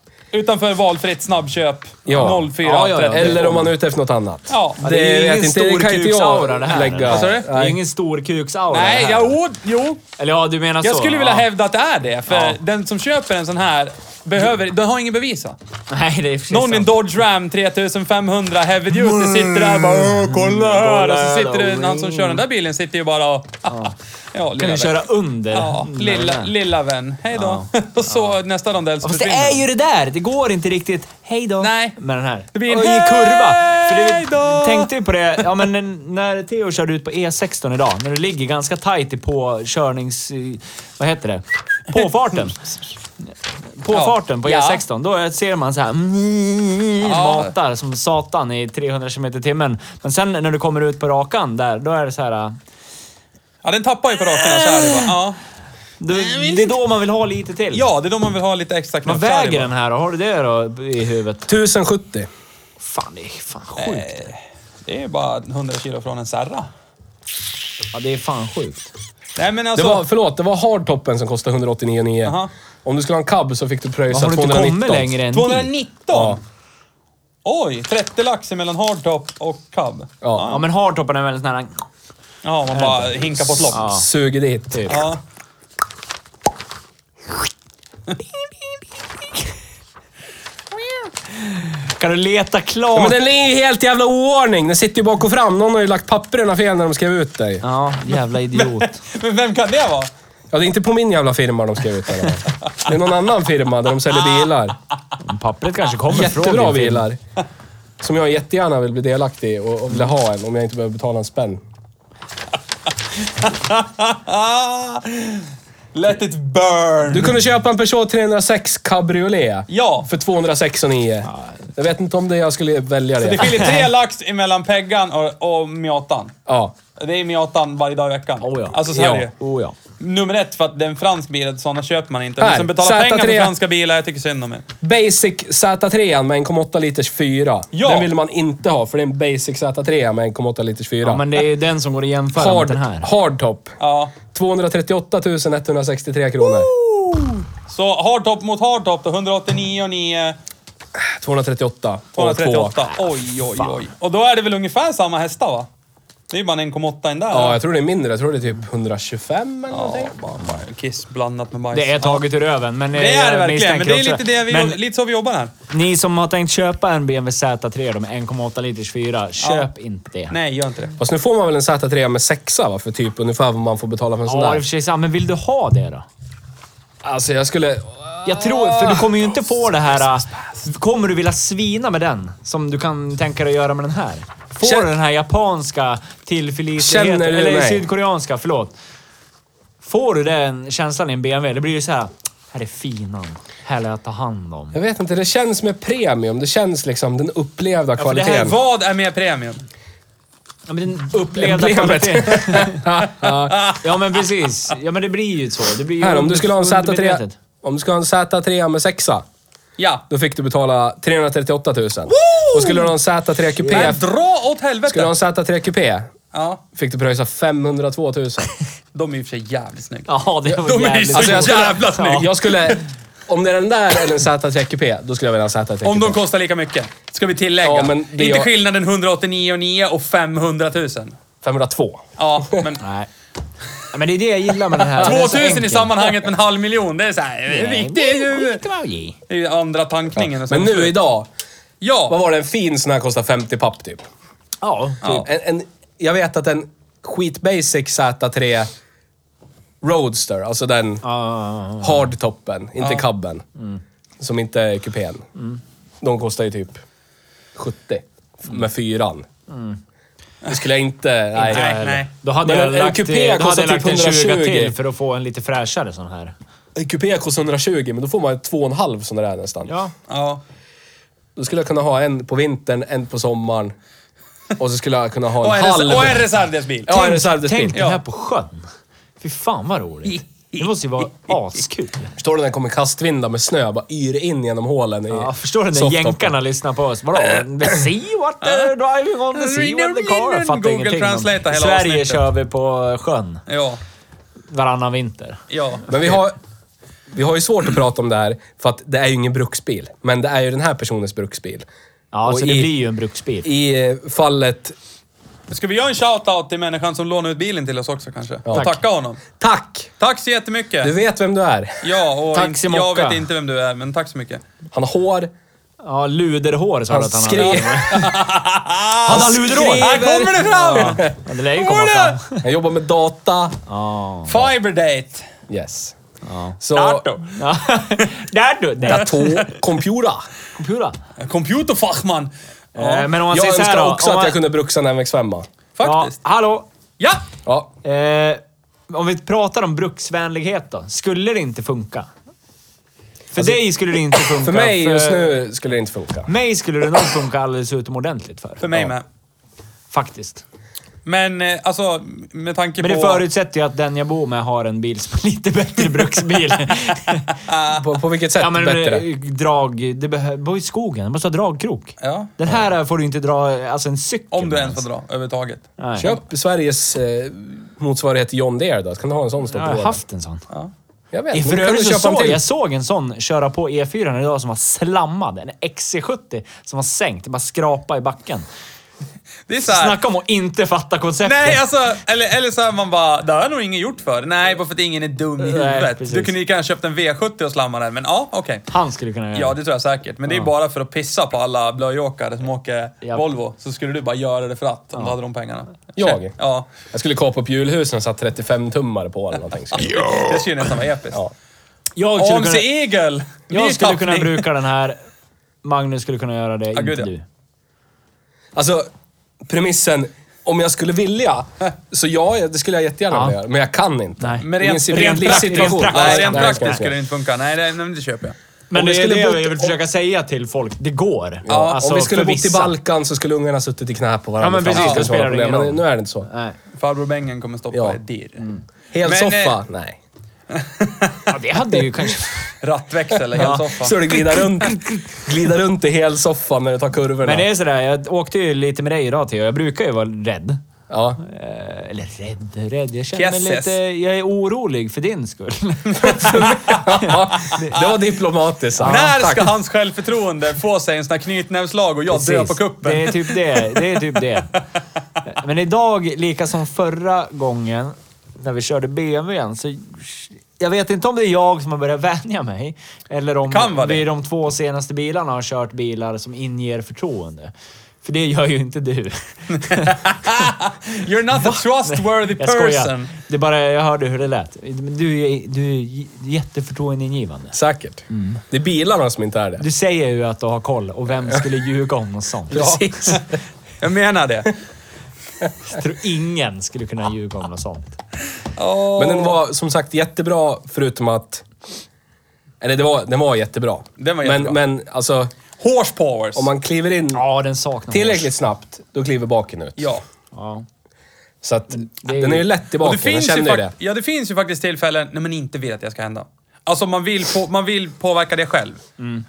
D: Utanför valfritt snabbköp
B: Ja.
D: 04
A: Ja, ja, ja.
D: 30.
B: Eller om man är ute efter något annat.
D: Ja.
A: Ja, det är ju
B: vet
A: ingen
B: inte, det kan inte jag
A: storkuksaura det här.
B: lägga.
A: eller?
B: Vad sa du?
A: Det är
B: Nej.
A: ingen storkuksaura
D: Nej,
A: det här.
D: ja, jo, jo.
A: Eller ja, du menar
D: Jag
A: så.
D: skulle vilja
A: ja.
D: hävda att det är det. För
A: Ja.
D: den som köper en sån här behöver, den har ingen bevisa.
A: Nej, det Mm. är precis
D: Någon i en
A: sant.
D: Dodge Ram 3500 heavy duty sitter där och bara "Åh, kolla här. Och så
A: här
D: sitter det,
A: då.
D: han som kör den där bilen sitter ju bara och... Ja,
A: Kan
D: lilla
A: du
D: vän.
A: köra under?
D: Ja,
A: Mm,
D: lilla,
A: där.
D: lilla vän. Hej då. Och så nästa rondell så
A: Fast det
D: försvinner
A: är
D: den.
A: ju det där. Det går inte riktigt hej då
D: Nej.
A: med den här.
D: Det blir en
A: Och i kurva. För
D: hej
A: det,
D: då!
A: tänkte ju på det, ja, men n- när Theo körde ut på E16 idag, när du ligger ganska tight i påkörnings... i- Vad heter det? Påfarten. Påfarten på
D: Ja.
A: E16, då ser man så här mm, matar som satan i 300 km i timmen. Men sen när du kommer ut på rakan där, då är det så här...
D: Ja, den tappar ju på raken. Så här, det bara. ja.
A: Då, det är då man vill ha lite till.
D: ja, det är då man vill ha lite extra knuff.
A: Man
D: så här, det
A: väger
D: bara.
A: den här och har du det då i huvudet?
B: 1070.
A: Fan, det är fan
D: Eh,
A: sjukt.
D: Det är bara 100 kilo från en Serra.
A: Ja, det är fan sjukt.
D: Nej, men
B: Det
D: alltså...
B: var, förlåt, det var hardtoppen som kostade 189,9.
D: Aha.
B: Om du skulle ha en cab så fick du pröjsa
A: Har du inte
B: 219.
A: kommit längre än 290.
D: 219?
B: Ja.
D: Oj, 30 lax mellan hardtop och cab.
A: Ja, men hardtoppen är väldigt nära.
D: Ja, man bara hinkar på ett lock.
A: Ja.
B: Suger dit.
D: Ja.
A: Kan du leta
B: Ja, men
A: klart?
B: den ligger ju helt jävla oordning. Den sitter ju bak och fram. Någon har ju lagt papperna fel när de skrev ut dig. Ja,
A: Ja, jävla idiot.
D: Men vem kan det vara?
B: det är inte på min jävla firma de skrev ut dig. Det är någon annan firma där de säljer bilar.
A: Men Pappret kanske kommer från
B: Jättebra
A: din film.
B: bilar. Som jag jättegärna vill bli delaktig i och, och vill ha en om jag inte behöver betala en spänn.
D: Let it burn!
B: Du kunde köpa en Peugeot 306 cabriolet.
D: Ja.
B: För 206 och 9. Jag vet inte om det jag skulle välja det.
D: Det skiljer tre lax emellan Peggan och, och Miatan.
B: Ja.
D: Det är Miatan varje dag i veckan.
A: Oh ja.
D: Alltså så är det ju.
B: ja. Oh, ja.
D: Nummer ett för att det är en fransk bil, sådana köper man inte.
B: Här,
D: Ni som betalar
B: Z3.
D: pengar för franska bilar, jag tycker synd om er.
B: Basic Z3 med 1,8 liters 4.
D: Ja.
B: Den vill man inte ha för det är en Basic Z3 med 1,8 liters 4.
A: Ja, men det är ju den som går att jämföra
B: hard,
A: med den här.
B: Hardtop.
D: Ja.
B: 238 163 kronor.
D: Så hardtop mot hardtop då, 189 och 9,
B: 238. och
D: 238.
B: två.
D: Oj, oj, oj. Och då är det väl ungefär samma hästar va? Det är ju bara en 1,8 in där.
B: Ja, jag tror det är mindre. Jag tror det är typ 125 eller någonting.
D: Ja, bara, bara kiss blandat med bajs.
A: Det är taget ur öven, men eh,
D: det, är det verkligen, men det är
A: också
D: lite, det vi,
A: Men
D: lite så vi jobbar här.
A: ni som har tänkt köpa en BMW Z3 då med 1,8 liters 4, köp inte det.
D: Nej, gör inte det.
B: Fast nu får man väl en Z3 med 6 va? För typ ungefär vad man får betala för en sån
A: Ja, i och
B: där.
A: för sig sant, men vill du ha det då?
B: Alltså jag skulle...
A: Jag tror, för du kommer ju inte få det här... äh, Kommer du vilja svina med den? Som du kan tänka dig att göra med den här. Får
B: Känn-
A: du den här japanska tillförlitligheten,
B: Känner du
A: eller
B: mig?
A: sydkoreanska, förlåt. Får du den känslan i en BMW, det blir ju så här. Här är finan. Härlig att ta hand om.
B: Jag vet inte, det känns med premium. Det känns liksom den upplevda
D: Ja, för det
B: kvaliteten.
D: här, vad är mer premium?
A: Ja, men den upplevda
B: Emblemet.
A: kvaliteten. ja, men precis. Ja, men det blir ju så. Det blir ju
B: Här, om du skulle ha en Z3...
A: undermedvetet.
B: Om du skulle ha en Z3 med 6
D: Ja.
B: då fick du betala 338 000. Och skulle du ha en Z3 Coupé...
D: Men dra åt helvete!
B: Skulle du ha en Z3 Coupé
D: Ja,
B: fick du pröjsa 502 000.
D: de är i och för sig jävligt snygga.
A: Ja, det var
D: De är ju
A: jävligt.
D: så
B: Alltså, jag ska-
D: jävla snygga.
B: Jag skulle... Om det är den där eller en Z3 Coupé, då skulle jag välja en Z3 Coupé.
D: Om de kostar lika mycket, ska vi tillägga.
B: Ja, men det
D: inte
B: jag-
D: skillnaden 189 och 9 och 500 000.
B: 502.
D: Ja, men
A: Nej. Ja, Men det är det jag gillar med den här. Den är så
D: 2000 i
A: enkel.
D: sammanhanget med en halv miljon. Det är såhär...
A: Nej,
D: Riktigt...
A: det
D: Det
A: är
D: är ju-
A: skitbra.
D: det är ju andra tankningen. och så.
B: Men nu idag, vad
D: Ja!
B: var det? En fin sån här kostar 50 papp typ.
A: Ja,
D: Ja.
B: En, en, jag vet att en skitbasic Z3 Roadster, alltså den
A: Ja, Mm.
B: hardtoppen, inte cabben. Som inte är kupén. De kostar ju typ 70 f-
A: Mm.
B: med fyran. Det skulle jag inte... Nej.
D: Nej, nej.
A: Då hade
B: Men
A: jag
B: en- en
A: lagt, en,
B: kupé
A: då hade
B: kostar
A: jag lagt
B: typ
A: en 20 till
B: 120.
A: för att få en lite fräschare sån här.
B: En kupé kostar 120, men då får man två och en halv sån där nästan.
A: Ja.
D: Ja.
B: Då skulle jag kunna ha en på vintern, en på sommaren. Och så skulle jag kunna ha en
D: Och en
B: halv...
D: res- och en reservdelsbil.
B: typ- Ja, en
A: Tänk
B: reservdelsbil.
A: den här på sjön. Fy fan vad roligt. Det måste ju vara askul.
B: Förstår du när det kommer kastvindar med snö, bara yr in genom hålen i
A: Ja, förstår du när
B: softtoppen.
A: jänkarna lyssnar på oss? Vadå? The sea what the driving on the sea what the car? Fattar
D: Google
A: ingenting. om.
D: Translate hela
A: I Sverige
D: avsnittet.
A: kör vi på sjön
D: Ja.
A: varannan vinter.
D: Ja.
B: Men vi har, vi har ju svårt att prata om det här, för att det är ju ingen bruksbil. Men det är ju den här personens bruksbil.
A: Ja,
B: Och
A: så
B: i,
A: det blir ju en bruksbil.
B: I eh, fallet...
D: Ska vi göra en shout-out till människan som lånade ut bilen till oss också kanske?
B: Ja.
D: Och
B: Tack.
D: tacka honom.
B: Tack!
D: Tack så jättemycket.
B: Du vet vem du är.
D: Ja, och
A: Tack
D: in-
A: så
D: jag
A: mycket.
D: vet inte vem du är, men tack så mycket.
B: Han har hår,
A: Ja, luderhår sa
B: han
A: du att han hade.
B: skriver...
A: Han har luderhår!
D: Här kommer det fram!
A: Ja, det lär ju komma fram.
B: Han jobbar med data.
A: Ja.
D: Fiberdate.
B: Yes.
A: Ja.
B: Så...
A: Ja. Där du! Där.
B: Dator, computer.
A: Kompura.
D: Computerfachman.
A: Eh, Men om man
B: Jag
A: säger så här
B: önskar
A: då.
B: också att
A: om man,
B: jag kunde bruxa en MX5.
D: Faktiskt.
A: Ja, hallå!
D: Ja!
B: Ja.
A: Eh, om vi pratar om bruksvänlighet då. Skulle det inte funka? För dig skulle det inte funka.
B: Alltså, För mig just nu skulle det inte funka.
A: Mig skulle det nog funka alldeles utomordentligt för.
D: För mig
B: Ja.
D: med.
A: Faktiskt.
D: Men eh, alltså, med tanke
A: Men det
D: på...
A: förutsätter ju att den jag bor med har en bil som är lite bättre bruksbil.
B: På, på vilket sätt
A: Ah. ja, men
B: bättre?
A: eh, drag... Det behö- bor i skogen. Den måste ha dragkrok.
D: Ja.
A: Den här eh, får du inte dra alltså en cykel
D: Om du
A: med
D: ens får dra, överhuvudtaget.
A: Nej.
B: Köp Sveriges eh, motsvarighet till John Deere då. Kan du ha en sån
A: Jag
B: stående
A: har haft en sån.
B: Jag vet.
A: I
B: inte.
A: för
B: Kan du
A: övrigt så
B: köpa en
A: såg
B: till?
A: jag såg en sån köra på E4 idag som var slammad. En XC70 som var sänkt. Det bara skrapa i backen.
D: Det är så här,
A: Snacka om att inte fatta konceptet.
D: Nej, alltså, eller, eller så här man bara, det har jag nog ingen gjort för. Nej, bara för att ingen är dum i huvudet.
A: precis.
D: du kunde lika gärna köpt en V70 och slamma den, men ja, okej.
A: Han skulle kunna göra
D: Ja,
A: det.
D: det tror jag säkert. Men det är bara för att pissa på alla blöjåkare som åker
A: Japp.
D: Volvo. Så skulle du bara göra det för att, om du hade de pengarna.
B: Jag?
D: Ja.
B: Jag skulle kapa upp julhusen och satt 35 tummare på eller någonting. Så.
D: Det skulle ju nästan vara episkt.
B: Ja.
A: Jag skulle,
D: AMC
A: kunna,
D: Eagle! Ny
A: jag skulle kunna
D: tappning.
A: bruka den här. Magnus skulle kunna göra det, inte
D: gud, ja.
A: du.
B: Alltså, premissen. Om jag skulle vilja, så ja, det skulle jag jättegärna
A: Ja.
B: vilja göra. Men jag kan inte.
A: Nej.
D: Men rent,
B: Min
D: rent,
B: livssituation-
D: praktiskt, rent praktiskt,
B: Nej,
D: rent
B: nej,
D: praktiskt
B: jag ska
D: skulle det
B: inte.
D: inte funka. Nej, det, nej, men det köper jag.
A: Men
B: Om
A: det
B: vi
A: är
B: skulle
A: det
B: bott-
A: jag vill försöka säga till folk. Det går.
B: Ja, om vi skulle
A: för
B: bott i
A: vissa.
B: Balkan så skulle ungarna suttit i knä på varandra.
A: Alltså,
B: fram
A: Ja, men precis,
B: tills
A: det spelar
B: var problem,
A: ingen
B: Men
A: roll.
B: nu är det inte så.
A: Nej.
D: Farbror Bengen kommer stoppa
B: Ja.
D: ja. dirr.
B: Hel
D: Men,
B: soffa?
D: eh,
B: Nej.
A: Ja, det hade ju kanske...
D: Rattväxel eller ja.
B: Så du glider runt, glider runt i hel soffan när du tar kurvorna.
A: Men det är sådär, jag åkte ju lite med dig idag Theo. Jag brukar ju vara rädd.
B: Ja.
A: Eh, Eller rädd, rädd. Jag känner mig
D: Kesses.
A: lite... Jag är orolig för din skull.
B: Ja, det var diplomatiskt. Ja,
D: När
B: tack.
D: ska hans självförtroende få sig en sån här knytnävslag och jag dö på
A: Precis.
D: kuppen?
A: Det är typ det. Det är typ det. Men idag, lika som förra gången när vi körde BMWn, så... Jag vet inte om det är jag som har börjat vänja mig. Eller om
D: Kan vara det.
A: vi de två senaste bilarna har kört bilar som inger förtroende. För det gör ju inte du.
D: You're not a trustworthy
A: Jag skojar.
D: person.
A: Det är bara, jag hörde hur det lät. Men Du är, du är j- jätteförtroendeingivande.
B: Säkert. Det är bilarna som inte är det.
A: Du säger ju att du har koll och vem skulle ljuga om något sånt?
B: Precis.
D: Jag menar det.
A: Jag tror ingen skulle kunna ljuga om något sånt.
B: Men den var som sagt jättebra förutom att... Eller det var, den var jättebra.
D: Den var jättebra.
B: Men, men alltså,
D: Horse powers.
B: om man kliver in
A: Ja, den saknar
B: tillräckligt snabbt, då kliver baken ut.
D: Ja.
A: Ja.
B: Så att,
A: är ju-
B: den är ju lätt i
D: Och
B: baken.
D: det
B: Jag
D: finns, ju
B: känner ju
D: fak-
B: det.
D: ja, det finns ju faktiskt tillfällen när man inte vill att det ska hända. Alltså man vill, på, man vill påverka det själv.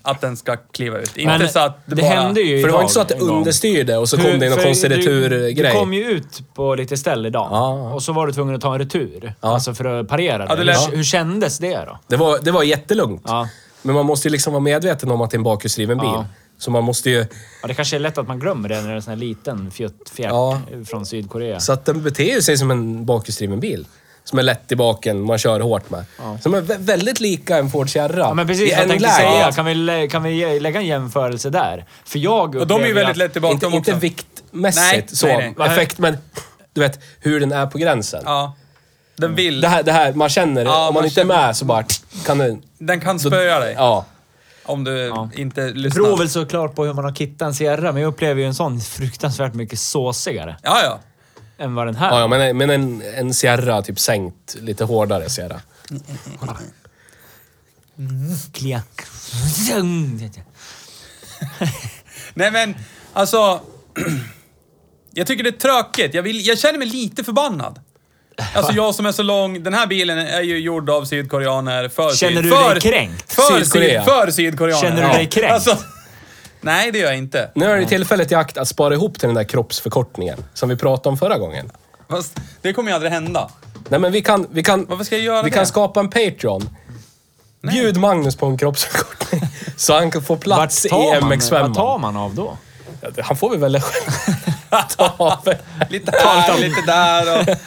D: Att den ska kliva ut. Inte
A: Mm. Men
D: så att det,
A: det
D: bara...
A: hände ju
B: För det
A: idag
B: var inte så att det
A: en gång.
B: understyrde och så
A: Hur-
B: kom det in någon
A: för
B: konstig
A: du- Du
B: returgrej.
A: kom ju ut på lite ställe idag
B: Ja.
A: och så var du tvungen att ta en retur. Alltså för att parera
D: Ja, det
A: det.
D: lät-
A: Hur, hur kändes det då?
B: Det var, det var jättelugnt.
A: Ja.
B: Men man måste ju liksom vara medveten om att det är en bakhjulsdriven bil.
A: Ja.
B: Så man måste ju...
A: Ja, det kanske är lätt att man glömmer det när det är en sån här liten fjuttfjärt
B: Ja.
A: från Sydkorea.
B: Så att den beter ju sig som en bakhjulsdriven bil. Som är lätt i baken, man kör hårt med. Som är vä- väldigt lika en Ford Sierra.
A: Ja, men precis.
B: I
A: Jag
B: en
A: tänkte
B: läge.
A: säga, kan vi, lä- kan vi ge- lägga en jämförelse där? För jag
D: Och de är ju
A: upplever
D: väldigt
A: att-
D: lätt tillbaka
B: Inte,
D: dem också.
B: inte viktmässigt
D: Nej,
B: så,
D: nej,
A: nej.
B: effekt, men du vet hur den är på gränsen.
D: Ja. Den vill.
B: Det, här, det här, man känner,
D: Ja,
B: om man,
D: man
B: inte är med så bara kan den...
D: Den kan spöa dig.
B: Ja.
D: Om du inte
A: Det
D: lyssnar.
A: beror väl såklart på hur man har kittat en Sierra, men jag upplever ju en sån fruktansvärt mycket såsigare
D: Ja, ja.
A: än vad den här.
B: Ja, ja, men, men en, en Sierra, typ sänkt, lite hårdare Sierra.
A: Kliak.
D: Nej men, alltså... jag tycker det är tråkigt. Jag, vill, jag känner mig lite förbannad. Alltså jag som är så lång. Den här bilen är ju gjord av sydkoreaner för
A: Känner
D: syd,
A: du
D: för,
A: dig kränkt?
D: För,
B: Sydkorea.
D: syd, för sydkoreaner.
A: Känner du
D: Ja. Alltså,
A: dig kränkt?
D: nej, det gör jag inte.
B: Nu är det tillfället i akt att spara ihop till den där kroppsförkortningen som vi pratade om förra gången.
D: Fast det kommer ju aldrig hända.
B: Nej, men vi kan... Vi kan
D: Varför ska jag göra
B: Vi
D: det?
B: kan skapa en Patreon. Bjud Magnus på en kroppsförkortning. Så han kan få plats i
A: Vad tar
B: MX5.
A: man av då?
B: Han får väl välja själv. Ta av.
D: Lite här, lite där och...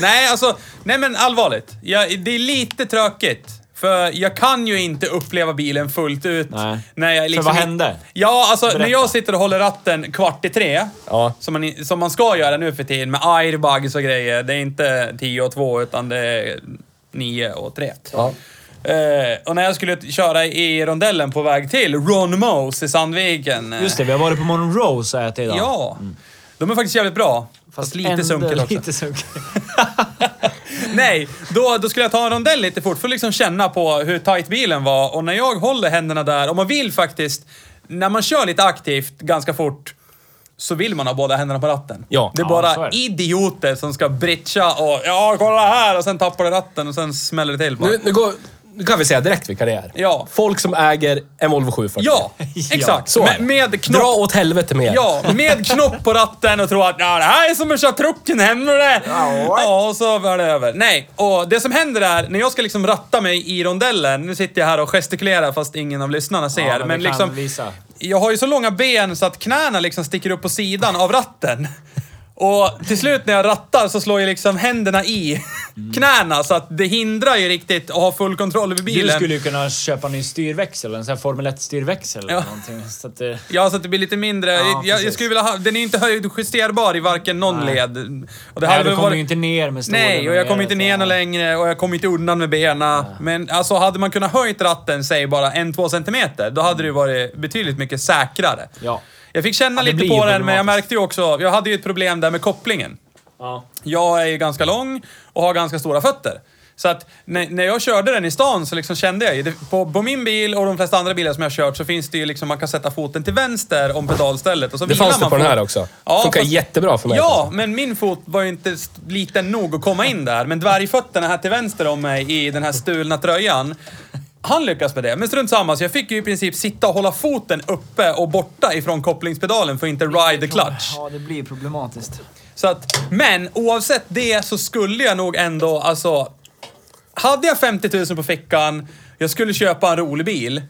D: Nej, alltså. Nej men allvarligt. Jag, det är lite tråkigt. För jag kan ju inte uppleva bilen fullt ut.
A: Nej.
D: När jag
A: För
D: liksom
A: vad
D: i-
A: hände?
D: Ja, alltså när
A: Berätta.
D: jag sitter och håller ratten kvart i tre.
B: Ja.
D: Som, man, i- som man ska göra nu för tiden med airbags och grejer. Det är inte 10 och 2 utan det är 9 och 3.
B: Ja.
D: Eh, och när jag skulle t- köra i rondellen på väg till Ron Mose i Sandviken. eh,
A: Just det, vi har varit på Monroe och ätit idag.
D: Ja. Mm. De är faktiskt jävligt bra. Fast, lite
A: ändå
D: sunkiga också.
A: Lite sunkiga.
D: Nej, då, då skulle jag ta en rondell lite fort för att liksom känna på hur tight bilen var. Och när jag håller händerna där, och man vill faktiskt, när man kör lite aktivt ganska fort, så vill man ha båda händerna på ratten.
B: Ja.
D: det är
A: Ja,
D: bara
A: så är det.
D: idioter som ska britcha och ja, kolla här! Och sen tappar du ratten och sen smäller det till bara.
B: Nu, nu, går, nu kan vi säga direkt vilka det är.
D: Ja.
B: Folk som äger en Volvo 740.
D: Ja, exakt.
B: Så är
D: med,
B: det.
D: med knopp.
B: Dra åt helvete med er.
D: Ja, med knopp på ratten och tro att ja, det här är som att köra trucken hem med det. Ja, och så var det över. Nej, och det som händer är när jag ska liksom ratta mig i rondellen. Nu sitter jag här och gestikulerar fast ingen av lyssnarna ser.
A: Ja,
D: men
A: men vi kan
D: liksom,
A: visa.
D: jag har ju så långa ben så att knäna liksom sticker upp på sidan av ratten. Och till slut när jag rattar så slår jag liksom händerna i knäna så att det hindrar ju riktigt att ha full kontroll över bilen.
A: Du skulle ju kunna köpa en ny styrväxel, en sån här Formel 1-styrväxel eller
D: Ja.
A: någonting. Så att eh, det...
D: Ja, så att det blir lite mindre. jag, jag
A: precis.
D: skulle vilja ha, den är ju inte höjdjusterbar i varken någon led. Och det
A: Nej,
D: hade
A: du
D: väl
A: kommer
D: varit-
A: ju inte ner med stolen.
D: Nej, och jag kommer inte ner
A: så-
D: något längre och jag kommer inte undan med benen. Men alltså, hade man kunnat höjt ratten, säg bara en, två centimeter, då hade det ju varit betydligt mycket säkrare.
A: Ja.
D: Jag fick känna
A: Ja, det
D: lite
A: blir ju
D: på den, men jag
A: problematiskt.
D: märkte ju också, jag hade ju ett problem där med kopplingen.
A: Ja.
D: Jag är ju ganska lång och har ganska stora fötter. Så att när, när jag körde den i stan så liksom kände jag ju, det- på, på min bil och de flesta andra bilar som jag har kört så finns det ju liksom, man kan sätta foten till vänster om pedalstället. Och så
B: Det
D: vilar
B: fanns det
D: man
B: på den
D: fot-
B: här också. Funkar jättebra för mig. alltså.
D: Ja, men min fot var ju inte st- liten nog att komma in där. Men dvärgfötterna här till vänster om mig i den här stulna tröjan. Han lyckas med det, men strunt samma. Så jag fick ju i princip sitta och hålla foten uppe och borta ifrån kopplingspedalen för att inte ride the clutch.
F: Ja, det blir problematiskt.
D: Så att, men oavsett det så skulle jag nog ändå, alltså... Hade jag 50 000 på fickan, jag skulle köpa en rolig bil.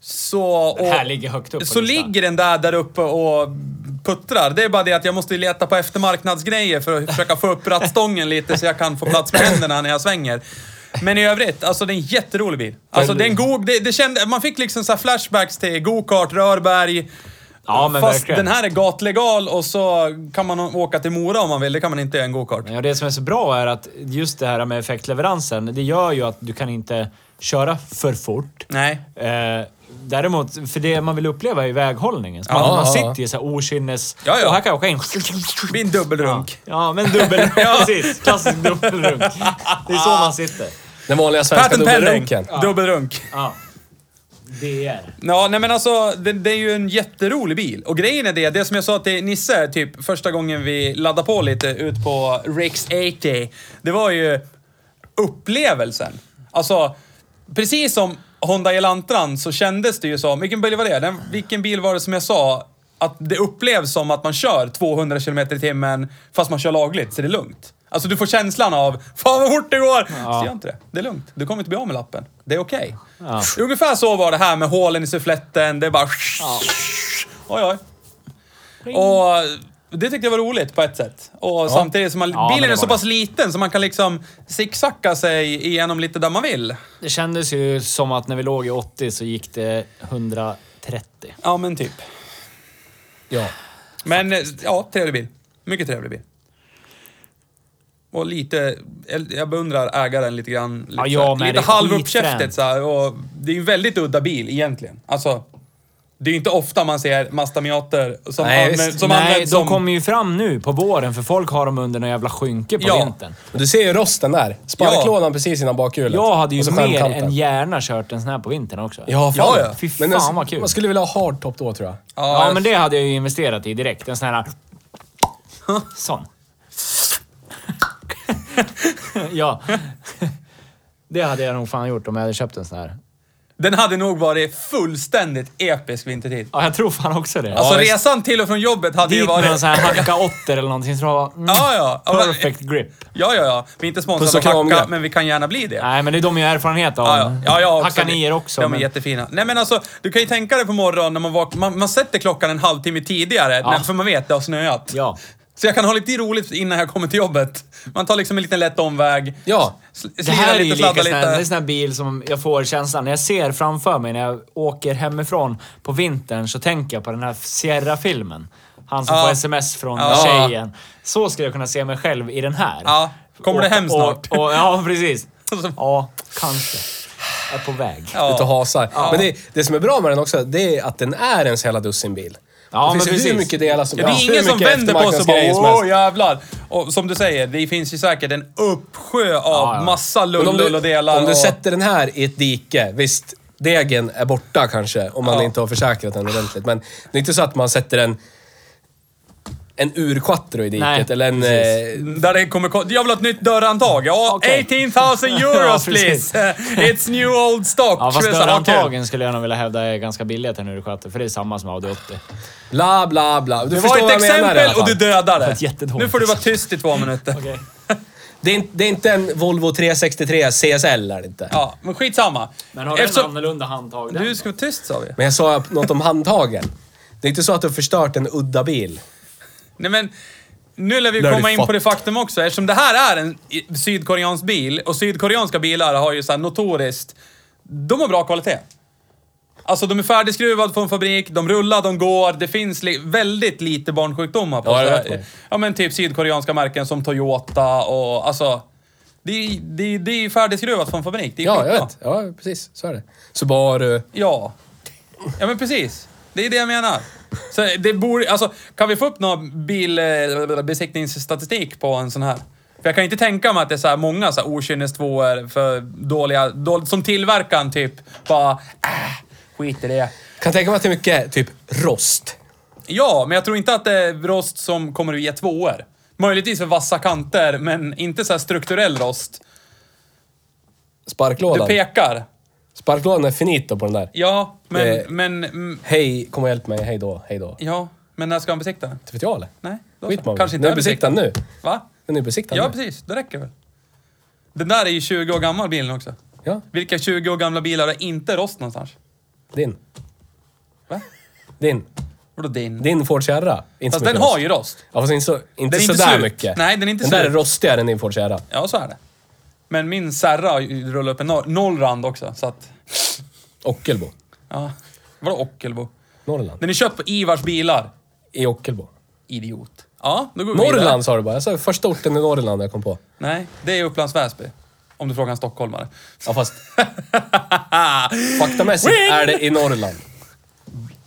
D: Så...
A: Den här
D: och-
A: ligger högt upp på
D: Så
A: listan.
D: ligger den där, där uppe och puttrar. Det är bara det att jag måste leta på eftermarknadsgrejer för att försöka få upp rattstången lite så jag kan få plats med händerna när jag svänger. Men i övrigt, alltså det är en jätterolig bil. Alltså det är en god, det, det kände, man fick liksom så här flashbacks till go-kart, Rörberg.
A: Ja, men
D: Fast
A: verkligen.
D: den här är gatlegal och så kan man åka till Mora om man vill. Det kan man inte göra i en go-kart.
A: Ja, det som är så bra är att just det här med effektleveransen, det gör ju att du kan inte köra för fort.
D: Nej.
A: Eh, däremot, för det man vill uppleva är ju väghållningen. Så man,
B: Ja,
A: man
B: ja,
A: sitter ju så här okynnes...
D: Ja, ja.
A: Och här kan jag åka in.
D: Det blir en dubbelrunk.
A: Ja, men dubbel... Precis. Klassisk dubbelrunk. Det är så man sitter.
B: Den vanliga svenska
D: Patent pending.
B: dubbelrunken.
D: Dubbelrunk.
A: Ja. DR.
D: Ja, nej men alltså, det, det är ju en jätterolig bil. Och grejen är det, det som jag sa till Nisse, typ första gången vi laddade på lite ut på Rex 80, det var ju upplevelsen. Alltså, precis som Honda Elantran så kändes det ju som, vilken bil var det? Den, vilken bil var det som jag sa? Att det upplevs som att man kör 200 km i timmen fast man kör lagligt, så det är lugnt. Alltså du får känslan av, fan vad fort det går! Så gör inte det. Det är lugnt. Du kommer inte bli av med lappen. Det är okej. Ungefär så var det här med hålen i suffletten. Det är bara... Oj, oj. Och eh, det tyckte jag var roligt på ett sätt. Och samtidigt som man,
A: Ja, men
D: bilen
A: det
D: är så
A: var det.
D: pass liten så man kan liksom zigzacka sig igenom lite där man vill.
A: Det kändes ju som att när vi låg i 80 så gick det 130.
D: Ja, men typ.
B: Ja.
D: Men eh, ja, trevlig bil. Mycket trevlig bil. Och lite, jag beundrar ägaren lite grann. Lite,
A: Ja, jag
D: så här-
A: med,
D: lite
A: det är
D: halvuppkäftigt
A: skitfränt.
D: så här, och Det är ju en väldigt udda bil egentligen. Alltså, det är ju inte ofta man ser Mazda Miater som,
B: Nej,
D: anvä-
B: visst.
D: som
A: Nej, de
D: används som...
A: kommer ju fram nu på våren för folk har dem under några jävla skynke på
D: Ja.
A: vintern.
B: Och Du ser ju rosten där. Sparklådan precis innan bakhjulet.
A: Jag hade
B: Och
A: ju
B: så
A: mer
B: skärmkanten.
A: än gärna kört en sån här på vintern också.
B: Ja, fan.
D: Ja, ja.
A: Fy
B: Men
A: fan
B: den-
A: vad kul.
B: Man skulle vilja ha hardtop då tror jag.
A: Ja, men det hade jag ju investerat i direkt. En sån här... Sån. ja. Det hade jag nog fan gjort om jag hade köpt en sån här.
D: Den hade nog varit fullständigt episk vintertid.
A: Ja, jag tror fan också det.
D: Alltså
A: ja,
D: resan till och från jobbet hade ju
A: dit med en
D: varit...
A: sån här hacka åtter eller någonting. Så det var, mm,
D: Ja, ja. Ja, men-
A: Perfect grip.
D: Ja, ja, ja. Vi är inte
B: Puss
D: sponsrade
B: och
D: av
B: kram,
D: Hacka,
B: grabbar.
D: men vi kan gärna bli det.
A: Nej, men det är de jag har erfarenhet av.
D: Ja, ja. ja, jag också.
A: Hacka nior också.
D: De är
A: men-
D: jättefina. Nej men alltså, du kan ju tänka dig på morgonen när man vaknar. Man, man sätter klockan en halvtimme tidigare, när, för man vet det har snöat.
A: Ja.
D: Så jag kan ha lite roligt innan jag kommer till jobbet. Man tar liksom en liten lätt omväg.
B: Ja.
D: Sl-
A: Det
D: slirar
A: här är ju
D: lite,
A: lika
D: sladdar
A: sån här, det är
D: lite.
A: sån här bil som jag får känslan, när jag ser framför mig när jag åker hemifrån på vintern så tänker jag på den här Sierra-filmen. Han som
D: Ja.
A: får sms från
D: Ja.
A: tjejen. Så skulle jag kunna se mig själv i den här.
D: Ja. Kommer det
A: Och-
D: hem snart?
A: Och, och, ja, precis. Ja, kanske. Jag är på väg.
B: Ut och hasar. Men det, det som är bra med den också, det är att den är en så jävla dussinbil.
A: Ja,
B: det finns
A: men
B: ju hur
A: precis.
B: mycket delar som
D: Ja, det är
B: hur
D: ingen som
B: mycket
D: vänder på sig och
B: eftermarknadsgrejer som
D: bara
B: helst.
D: åh jävlar. Och som du säger, det finns ju säkert en uppsjö av
A: ja.
D: massa
B: Men om du-
D: lull och delar.
B: Om du
D: och...
B: sätter den här i ett dike, visst, degen är borta kanske om man
D: Ja.
B: inte har försäkrat den ordentligt. Men det är inte så att man sätter en, en urquattro i diket
A: Nej,
B: eller en...
A: precis.
B: Eh,
D: Där det kommer ko- Jag vill ha ett nytt dörrhandtag. Ja,
A: Okej.
D: 18 000
A: Ja,
D: euros
A: precis.
D: please! It's new old stock.
A: Ja,
D: Så
A: fast
D: jag sa, okej.
A: dörrhandtagen skulle jag nog vilja hävda är ganska billigt här nu i sköter, för det är samma som Audi 80.
B: bla, bla, bla. Du
D: Det
B: förstår
D: var
B: vad
D: ett
B: jag menar i alla
D: exempel och
B: fall.
D: du dödade.
A: ett jättedåligt
D: Nu får du vara tyst i två minuter.
B: Det är, in- det är inte en Volvo 363 CSL är det inte.
D: Ja, men skitsamma.
A: Men har
D: Eftersom-
A: den annorlunda handtag där?
D: Du ska vara tyst sa vi.
B: Men jag sa något om handtagen. Det är inte så att du har förstört en udda bil.
D: Nej men, nu lär vi
B: Lär
D: komma
B: du
D: in
B: fatt-
D: på det faktum också. Eftersom det här är en i- sydkoreansk bil och sydkoreanska bilar har ju så här notoriskt... De har bra kvalitet. Alltså de är färdigskruvad från fabrik, de rullar, de går. Det finns li väldigt lite barnsjukdomar på
B: Ja, det
D: så här-
B: vet man.
D: Ja men typ sydkoreanska märken som Toyota och alltså... Det är, det är, det är färdigskruvat från fabrik. Det är
B: Ja, jag
D: skitbra.
B: vet. Ja, precis. Så är det. Subaru.
D: Ja. Ja men precis. Det är det jag menar. Så det borde, alltså, kan vi få upp någon bilbesiktningsstatistik eh, på en sån här? För jag kan inte tänka mig att det är så här många så här okynnestvåor för dåliga... Då, som tillverkaren typ bara... Äh, skit i det.
B: Kan tänka mig att det är mycket typ rost.
D: Ja, men jag tror inte att det är rost som kommer att ge tvåor. Möjligtvis för vassa kanter, men inte så här strukturell rost. Du
B: Sparklådan.
D: pekar.
B: Sparklådan är finito på den där.
D: Ja, men...
B: Eh.
D: men mm,
B: Hej, kom och hjälp mig. Hej då, hej då.
D: ja, men när ska han besikta den?
B: Inte vet jag eller?
D: Nej, då
B: Skit
D: så.
B: man
D: Kanske
B: Kanske
D: inte
B: Den är besiktad nu.
D: Va?
B: Den är besiktad
D: Ja,
B: nu.
D: precis. Det räcker väl. Den där är ju 20 år gammal bilen också.
B: Ja,
D: Vilka 20 år gamla bilar är inte rost någonstans?
B: din.
D: Va?
B: Din.
D: Vadå din?
B: Din Ford Sierra. Inte
D: Fast
B: så mycket
D: den
B: rost.
D: har ju rost.
B: Ja, fast inte, så, inte
D: är inte
B: sådär
D: slut.
B: mycket.
D: Nej, den är inte
B: Den där är
D: slut.
B: rostigare än din Ford Sierra.
D: Ja, så är det. Men min Serra har ju rullat upp en no- noll rand också, så att...
B: Ockelbo.
D: Ja. Vadå Ockelbo?
B: Norrland.
D: Den är köpt på Ivars bilar.
B: I Ockelbo.
D: Idiot. Ja, då går vi vidare.
B: Norrland sa du bara. Jag sa första orten i Norrland jag kom på.
D: Nej, det är Upplands Väsby. Om du frågar en stockholmare.
B: Ja, fast faktamässigt
D: Win!
B: är det i Norrland.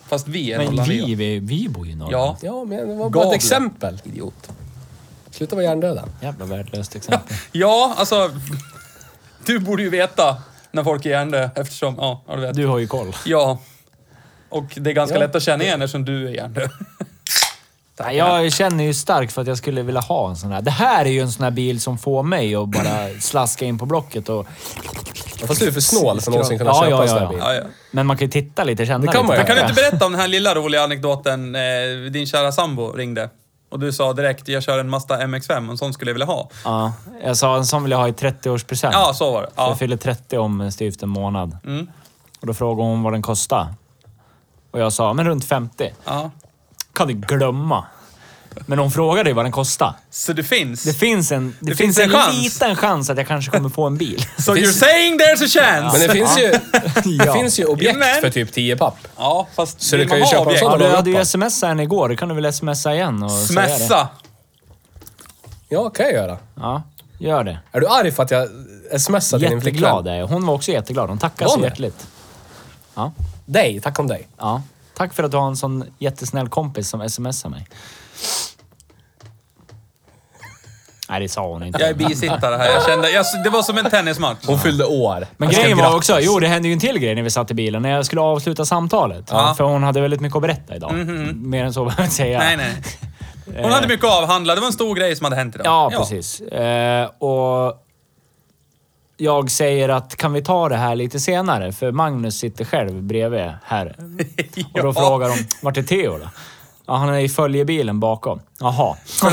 D: Fast vi är
A: Men
D: Norrland.
A: vi, vi, vi bor ju i Norrland.
D: Ja.
B: Ja, men det var bara
D: Gavle.
B: ett exempel.
D: Idiot.
B: Sluta vara hjärndöda.
A: Jävla värdelöst exempel.
D: Ja, alltså... Du borde ju veta när folk är hjärndö eftersom... Ja, ja, du vet.
A: Du har ju koll.
D: Ja. Och det är ganska
B: Ja.
D: lätt att känna igen eftersom du är hjärndö.
A: Nej, Jag känner ju starkt för att jag skulle vilja ha en sån här. Det här är ju en sån här bil som får mig att bara slaska in på Blocket och...
B: Fast du är för snål för att någonsin kunna
A: Ja,
B: köpa
A: ja,
B: en sån
A: ja,
B: här bil.
D: Ja, ja.
A: Men man kan ju titta lite, känna
B: Det kan man
A: lite.
B: ju.
D: Men kan du inte berätta om den här lilla roliga anekdoten? Eh, din kära sambo ringde och du sa direkt jag kör en Mazda MX-5 och en sån skulle jag vilja ha.
A: Ja, jag sa en sån vill jag ha i 30-årspresent.
D: Ja, så var det.
A: För
D: Ja.
A: jag fyller 30 om eh, styvt en månad. Och då frågade hon vad den kostade. Och jag sa, men runt 50.
D: Ja.
A: Kan du glömma. Men hon frågade ju vad den kostade.
D: Så det finns.
A: Det finns en, det
D: finns
A: finns
D: en
A: en,
D: chans.
A: liten chans att jag kanske kommer få en bil.
D: so you're saying there's a chance!
B: Men
D: Ja,
B: det finns ju, det
A: Ja.
B: finns ju objekt
D: Jajamän.
B: för typ 10 papp.
D: fast
B: Så
D: vill
B: du kan
D: man
B: ju
D: ha
B: köpa en
D: objekt?
B: sån
A: Ja,
B: Kolla
A: du
B: vad
A: hade
B: jag
A: ju
B: hoppar.
A: smsat henne igår. Då kan du väl smsa igen och säga det.
D: Smässa!
B: Ja, kan jag göra.
A: Ja, gör det.
B: Är du arg för att jag smsar till din flickvän?
A: Jätteglad är jag. Hon var också jätteglad. Hon tackade
B: Var
A: så
B: hon det?
A: hjärtligt. Ja,
B: Dig, tack om dig.
A: ja. Tack för att du har en sån jättesnäll kompis som smsar mig. Nej, det sa hon inte.
D: Jag är bisittare här. Jag kände, jag, det var som en tennismatch.
B: Hon fyllde år.
A: Men
B: Jag ska
A: grejen var
B: gratta.
A: också, jo det hände ju en till grej när vi satt i bilen när jag skulle avsluta samtalet.
D: Ja. Mhm.
A: För hon hade väldigt mycket att berätta idag. Mer än så behöver jag inte säga.
D: Nej, nej. Hon hade mycket att avhandla. Det var en stor grej som hade hänt idag.
A: Ja, precis. Eh, och jag säger att kan vi ta det här lite senare? För Magnus sitter själv bredvid här. Och då
D: Ja.
A: frågar de, vart är Theo då? Ja, han är i följebilen bakom. Jaha.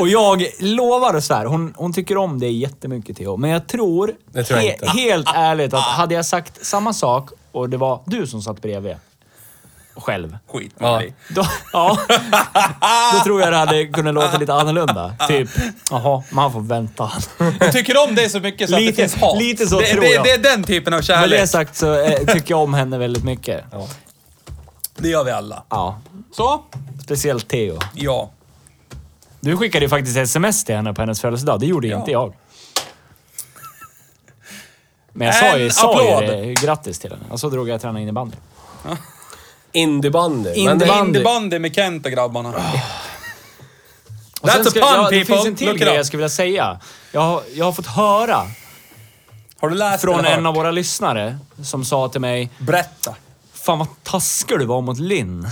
A: och jag lovar och så här, hon, hon tycker om dig jättemycket Theo. Men jag tror,
B: Det tror jag inte. Ah,
A: helt ärligt, att hade jag sagt samma sak och det var du som satt bredvid själv.
D: Skit
B: Ja.
D: ja.
A: Då, ja, då tror jag det hade kunnat låta lite annorlunda. Typ, jaha, man får vänta.
D: Hon tycker om dig så mycket så att det
A: Lite-
D: finns hat.
A: lite så
D: det,
A: tror
D: det,
A: jag.
D: det är den typen av
A: Med det
D: kärlek.
A: sagt så eh, tycker jag om henne väldigt mycket.
D: Det gör vi alla.
A: Ja,
D: Så?
A: speciellt Theo.
D: Ja.
A: Du skickade ju faktiskt sms till henne på hennes födelsedag. Det gjorde ju
D: Ja.
A: inte jag. Men jag sa ju,
D: En
A: sa ju
D: applåd.
A: det, grattis till henne. Och så drog jag och tränade innebandy.
B: Indybandy. Men det-
A: Indybandy.
D: Innebandy med Kent och grabbarna.
A: Ah. Och sen
D: That's a
A: ska-
D: pun,
A: ja, Det
D: people.
A: finns en till
D: Look it
A: grej
D: up.
A: jag skulle vilja säga. Jag har, jag har fått höra
D: Har du läst
A: från
D: eller hört?
A: en av våra lyssnare som sa till mig
D: Berätta.
A: Fan vad taskig du var mot Linn.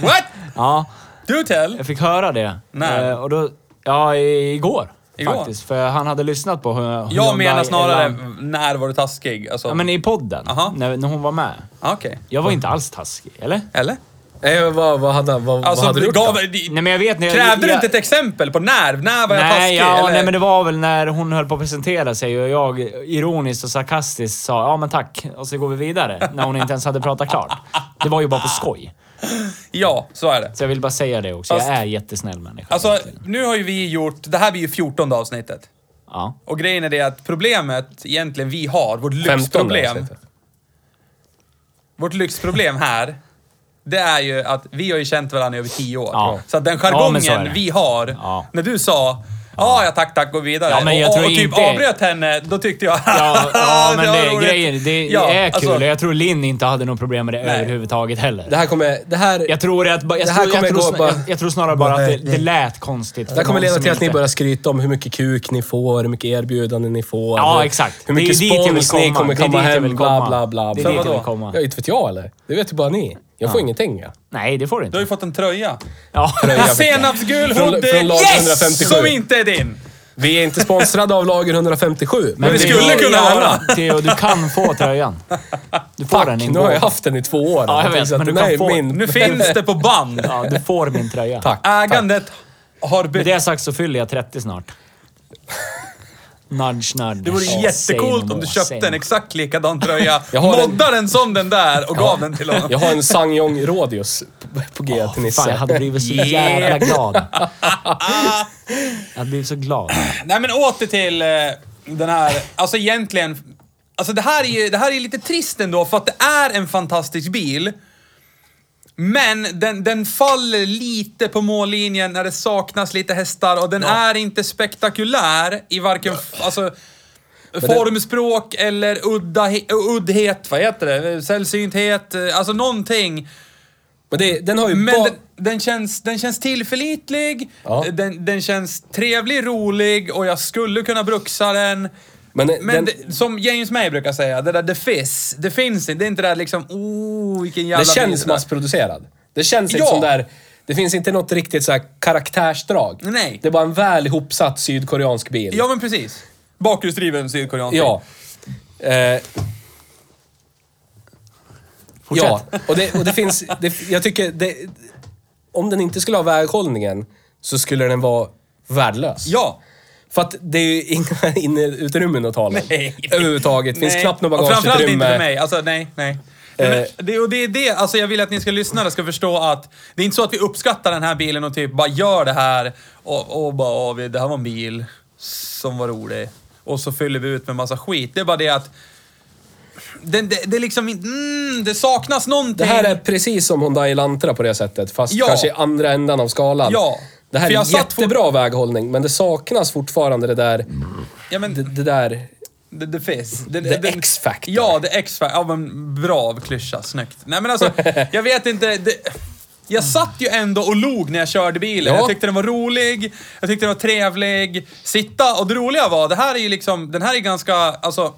D: What?
A: Ja,
D: Do tell.
A: jag fick höra det.
D: När?
A: Eh, och då, ja, i- igår,
D: Igår?
A: faktiskt. För han hade lyssnat på hur
D: Jag menar snarare, när var du taskig? Alltså,
A: Ja, men i podden.
D: Aha.
A: När, när hon var med.
D: Ah, okej.
A: Jag var inte alls taskig, eller?
D: Eller?
B: Nej, men vad, vad hade, vad,
D: Alltså,
B: vad hade du gjort
D: gav,
B: då?
D: di-
A: Nej, men jag vet när jag-
D: Krävde du
A: jag-
D: inte ett exempel på när? När var jag
A: Nej,
D: taskig?
A: ja,
D: eller?
A: nej, men det var väl när hon höll på att presentera sig och jag ironiskt och sarkastiskt sa ja men tack och så går vi vidare. när hon inte ens hade pratat klart. Det var ju bara på skoj.
D: Ja, så är det.
A: Så jag vill bara säga det också.
D: Fast-
A: jag är jättesnäll människa.
D: Alltså, nu har ju vi gjort... Det här blir ju 14 avsnittet.
A: ja.
D: Och grejen är det att problemet egentligen vi har, vårt lyxproblem,
B: avsnittet.
D: vårt lyxproblem här, det är ju att vi har ju känt varandra i över tio år.
A: Ja.
D: Så att den
A: Ja, men så är
D: jargongen
A: det.
D: vi har,
A: Ja.
D: när du sa Ja, ja tack, tack, gå vidare.
A: Ja, men jag
D: och,
A: tror
D: och typ
A: inte-
D: avbröt henne, då tyckte jag...
A: Ja, ja men
D: var
A: det är
D: roligt.
A: grejen. Det
D: Ja,
A: är kul.
D: alltså,
A: och jag tror Linn inte hade något problem med det
D: Nej.
A: överhuvudtaget heller.
B: Det här kommer... Det här,
A: jag tror, att, ba- jag,
B: Det här
A: tror, jag,
B: kommer
A: tror,
B: gå
A: sna-
B: bara-
A: jag, jag tror snarare bara att det, det lät konstigt.
B: det här kommer leda till att ni börjar skryta om hur mycket kuk ni får, hur mycket erbjudanden ni får.
A: Ja,
B: hur,
A: exakt.
B: Hur
A: Det är
B: mycket
A: ju dit jag vill
B: spons ni
A: komma.
B: kommer
A: Det är
B: komma
A: dit jag
B: hem,
A: vill
B: bla
A: komma.
B: bla bla.
A: Det är
B: bla.
A: dit jag
D: vadå?
A: vill komma.
B: Ja, inte vet jag eller? Det vet ju bara ni. Jag får ingenting ja.
A: Nej, det får du
D: Du har
A: inte.
D: ju fått en tröja.
A: Ja.
D: Senapsgul
B: Från-
D: hoodie,
B: från lag
D: yes!
B: 157.
D: Som inte är din.
B: Vi är inte sponsrade av Lager 157. Men,
D: vi skulle
A: går-
D: kunna
A: ja,
D: vara.
A: Theo, du kan få tröjan. Du får den
B: Fuck, nu
A: igår.
B: har jag haft den i två år.
A: Ja, jag
B: tänkte
A: vet,
B: att
A: men du
B: den här
A: kan
B: är
A: få-
B: min.
D: Nu finns det på band.
A: Ja, du får min tröja.
B: Tack.
D: Ägandet har
A: Med
D: bytt.
A: det sagt så fyller jag 30 snart. Nudge, nudge.
D: Det vore jättecoolt om du köpte en exakt likadan tröja,
B: Jag har en-
D: moddade den som den där och gav den till honom.
B: Jag har en Sangyong Rodius på, på G till
A: Fan,
B: Nisse.
A: jag hade blivit så jävla glad. Jag hade blivit så glad.
D: Nej men åter till eh, den här, alltså egentligen, alltså det här är ju, det här är lite trist ändå för att det är en fantastisk bil. Men den, den faller lite på mållinjen när det saknas lite hästar och den är inte spektakulär i varken, f- alltså formspråk eller udda, uddhet, vad heter det? Sällsynthet, eh, alltså någonting.
B: Men det, den har ju
D: Men
B: ba-
D: den, den, känns, den känns tillförlitlig,
B: Ja.
D: den, den känns trevlig, rolig och jag skulle kunna bruxa den.
B: Men,
D: Men
B: den,
D: det, som James May brukar säga, det där det finns, det finns inte. Det är inte det där liksom, oh vilken jävla
B: det
D: bil
B: känns
D: där.
B: massproducerad. Det känns inte
D: Ja.
B: som där... Det finns inte något riktigt så här karaktärsdrag.
D: Nej.
B: Det är bara en väl ihopsatt sydkoreansk bil.
D: Ja men precis. Bakhjulsdriven sydkoreansk bil.
B: Ja. Eh, ja, och det, och det finns... Det, jag tycker... Det, om den inte skulle ha väghållningen så skulle den vara värdelös.
D: Ja.
B: För att det är ju inga inneutrymmen att tala om.
D: Nej.
B: Överhuvudtaget. Det finns
D: Nej.
B: knappt något
D: Och Framförallt inte för
B: bagageutrymme.
D: mig. Alltså nej, nej. Nej, men
B: Eh.
D: Det, och det är det, alltså jag vill att ni ska lyssna och ska förstå att det är inte så att vi uppskattar den här bilen och typ bara gör det här och, och bara, "Åh, vi- det här var en bil som var rolig. Och så fyller vi ut med massa skit. Det är bara det att den, det, det är liksom inte, mm, det saknas någonting.
B: Det här är precis som Hyundai Elantra på det sättet, fast
D: Ja.
B: kanske i andra ändan av skalan.
D: Ja.
B: Det här
D: För jag
B: är
D: satt på-
B: jättebra väghållning, men det saknas fortfarande det där...
D: ja, men,
B: Det, det där...
D: The, the Fizz. The,
B: The X-Factor.
D: Ja, The X-Factor. Ja, men bra av klyscha. Snyggt. Nej, men alltså, jag vet inte. Det, jag satt ju ändå och log när jag körde bilen.
B: Ja.
D: Jag tyckte den var rolig, jag tyckte den var trevlig. Sitta, och det roliga var, det här är ju liksom, den här är ganska, alltså...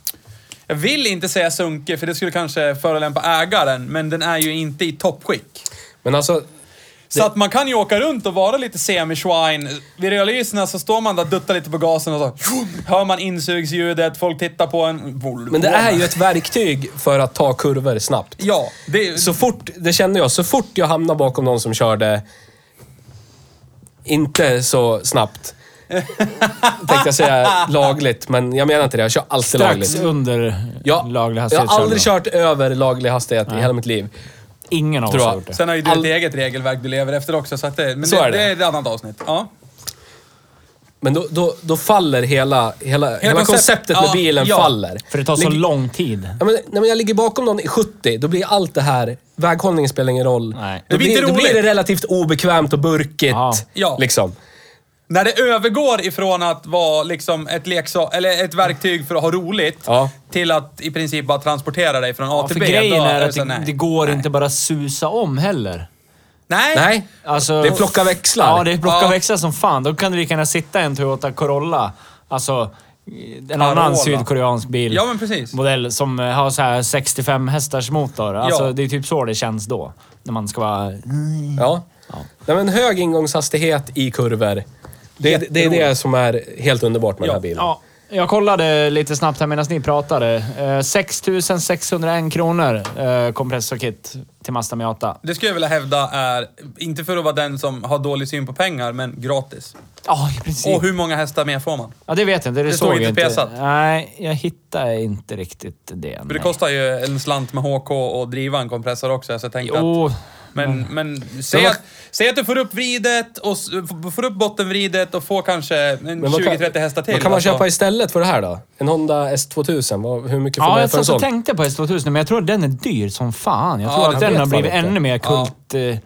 D: jag vill inte säga sunkig, för det skulle kanske förolämpa ägaren, men den är ju inte i toppskick.
B: Men alltså...
D: Så att man kan ju åka runt och vara lite semi-schwein. Vid rödlyserna så står man där och duttar lite på gasen och så hör man insugsljudet, folk tittar på en.
B: Men det är ju ett verktyg för att ta kurvor snabbt.
D: Ja, det...
B: Så fort, det känner jag, så fort jag hamnar bakom någon som körde inte så snabbt. Tänkte jag säga lagligt, men jag menar inte det. Jag kör alltid
A: Strax
B: lagligt.
A: under
B: Ja,
A: laglig
B: jag
A: hastighet.
B: har aldrig
A: körde
B: kört över laglig hastighet i hela mitt liv.
A: jag. Ingen av oss
B: Tror
A: har
B: jag.
A: gjort det.
D: Sen har ju du
B: All-
D: ett eget regelverk du lever efter också, så att det... Men
B: Så
D: det,
B: är det.
D: det är ett annat avsnitt. Ja.
B: Men då, då, då faller hela, hela, hela
D: koncept-
B: konceptet med
D: ja,
B: bilen
D: ja.
B: faller.
A: För det tar så
B: Ligg-
A: lång tid.
B: Ja, men, när jag ligger bakom någon i 70, då blir allt det här... Väghållningen spelar ingen roll.
A: Nej.
B: Då,
D: Det blir inte
B: blir, då
D: roligt.
B: blir det relativt obekvämt och burkigt.
A: Ja.
D: Ja.
B: Liksom.
D: När det övergår ifrån att vara liksom ett leksak, eller ett verktyg för att ha roligt,
B: Ja.
D: till att i princip bara transportera dig från A
A: Ja,
D: till
A: för
D: B.
A: grejen
D: då
A: är att
D: så här,
A: det, det går inte bara susa om heller.
D: Nej. Nej.
B: Nej.
A: Alltså,
B: Det är plocka växlar.
A: Ja, det är plocka
D: Ja.
A: växlar som fan. Då kan det lika gärna sitta en Toyota Corolla. Alltså, en annan
D: Corolla.
A: sydkoreansk bil.
D: Ja, men precis.
A: Modell som eh, har så här 65 hästars motor. Alltså,
D: Ja.
A: Det är typ så det känns då. När man ska vara...
B: Ja. Nej, men hög ingångshastighet i kurvor. Det, är- det är det som är helt underbart med den här bilen.
A: Ja, jag kollade lite snabbt här medan ni pratade. Eh, 6 601 kronor eh, kompressorkit till Mazda Miata.
D: Det skulle jag vilja hävda är, inte för att vara den som har dålig syn på pengar, men gratis.
A: Ja, i princip.
D: Och
B: Typ.
D: hur många hästar mer får man?
A: Ja, det vet jag inte. Det,
D: Det
A: såg
D: står
A: jag
D: inte pesat.
A: Nej, jag hittar inte riktigt det.
D: För det
A: nej.
D: kostar ju en slant med HK och driva en kompressor också, så jag tänkte att...
A: Jo,
D: Men, men säg,
B: Mm. vad-
D: att, säg att du får upp vridet och s- f- får upp bottenvridet och får kanske en
B: Men vad kan-
D: 20-30 hästar till.
B: Vad kan man
D: Alltså,
B: köpa istället för det här då? En Honda S2000? Vad, hur mycket får
A: Ja,
B: man
A: jag
B: för en
A: satt
B: sån?
A: och tänkte på S2000, men jag tror att den är dyr som fan. Jag tror
D: Ja,
A: att
D: jag
A: den
B: vet
A: har
B: fan
A: blivit
B: inte.
A: ännu mer kult, eh,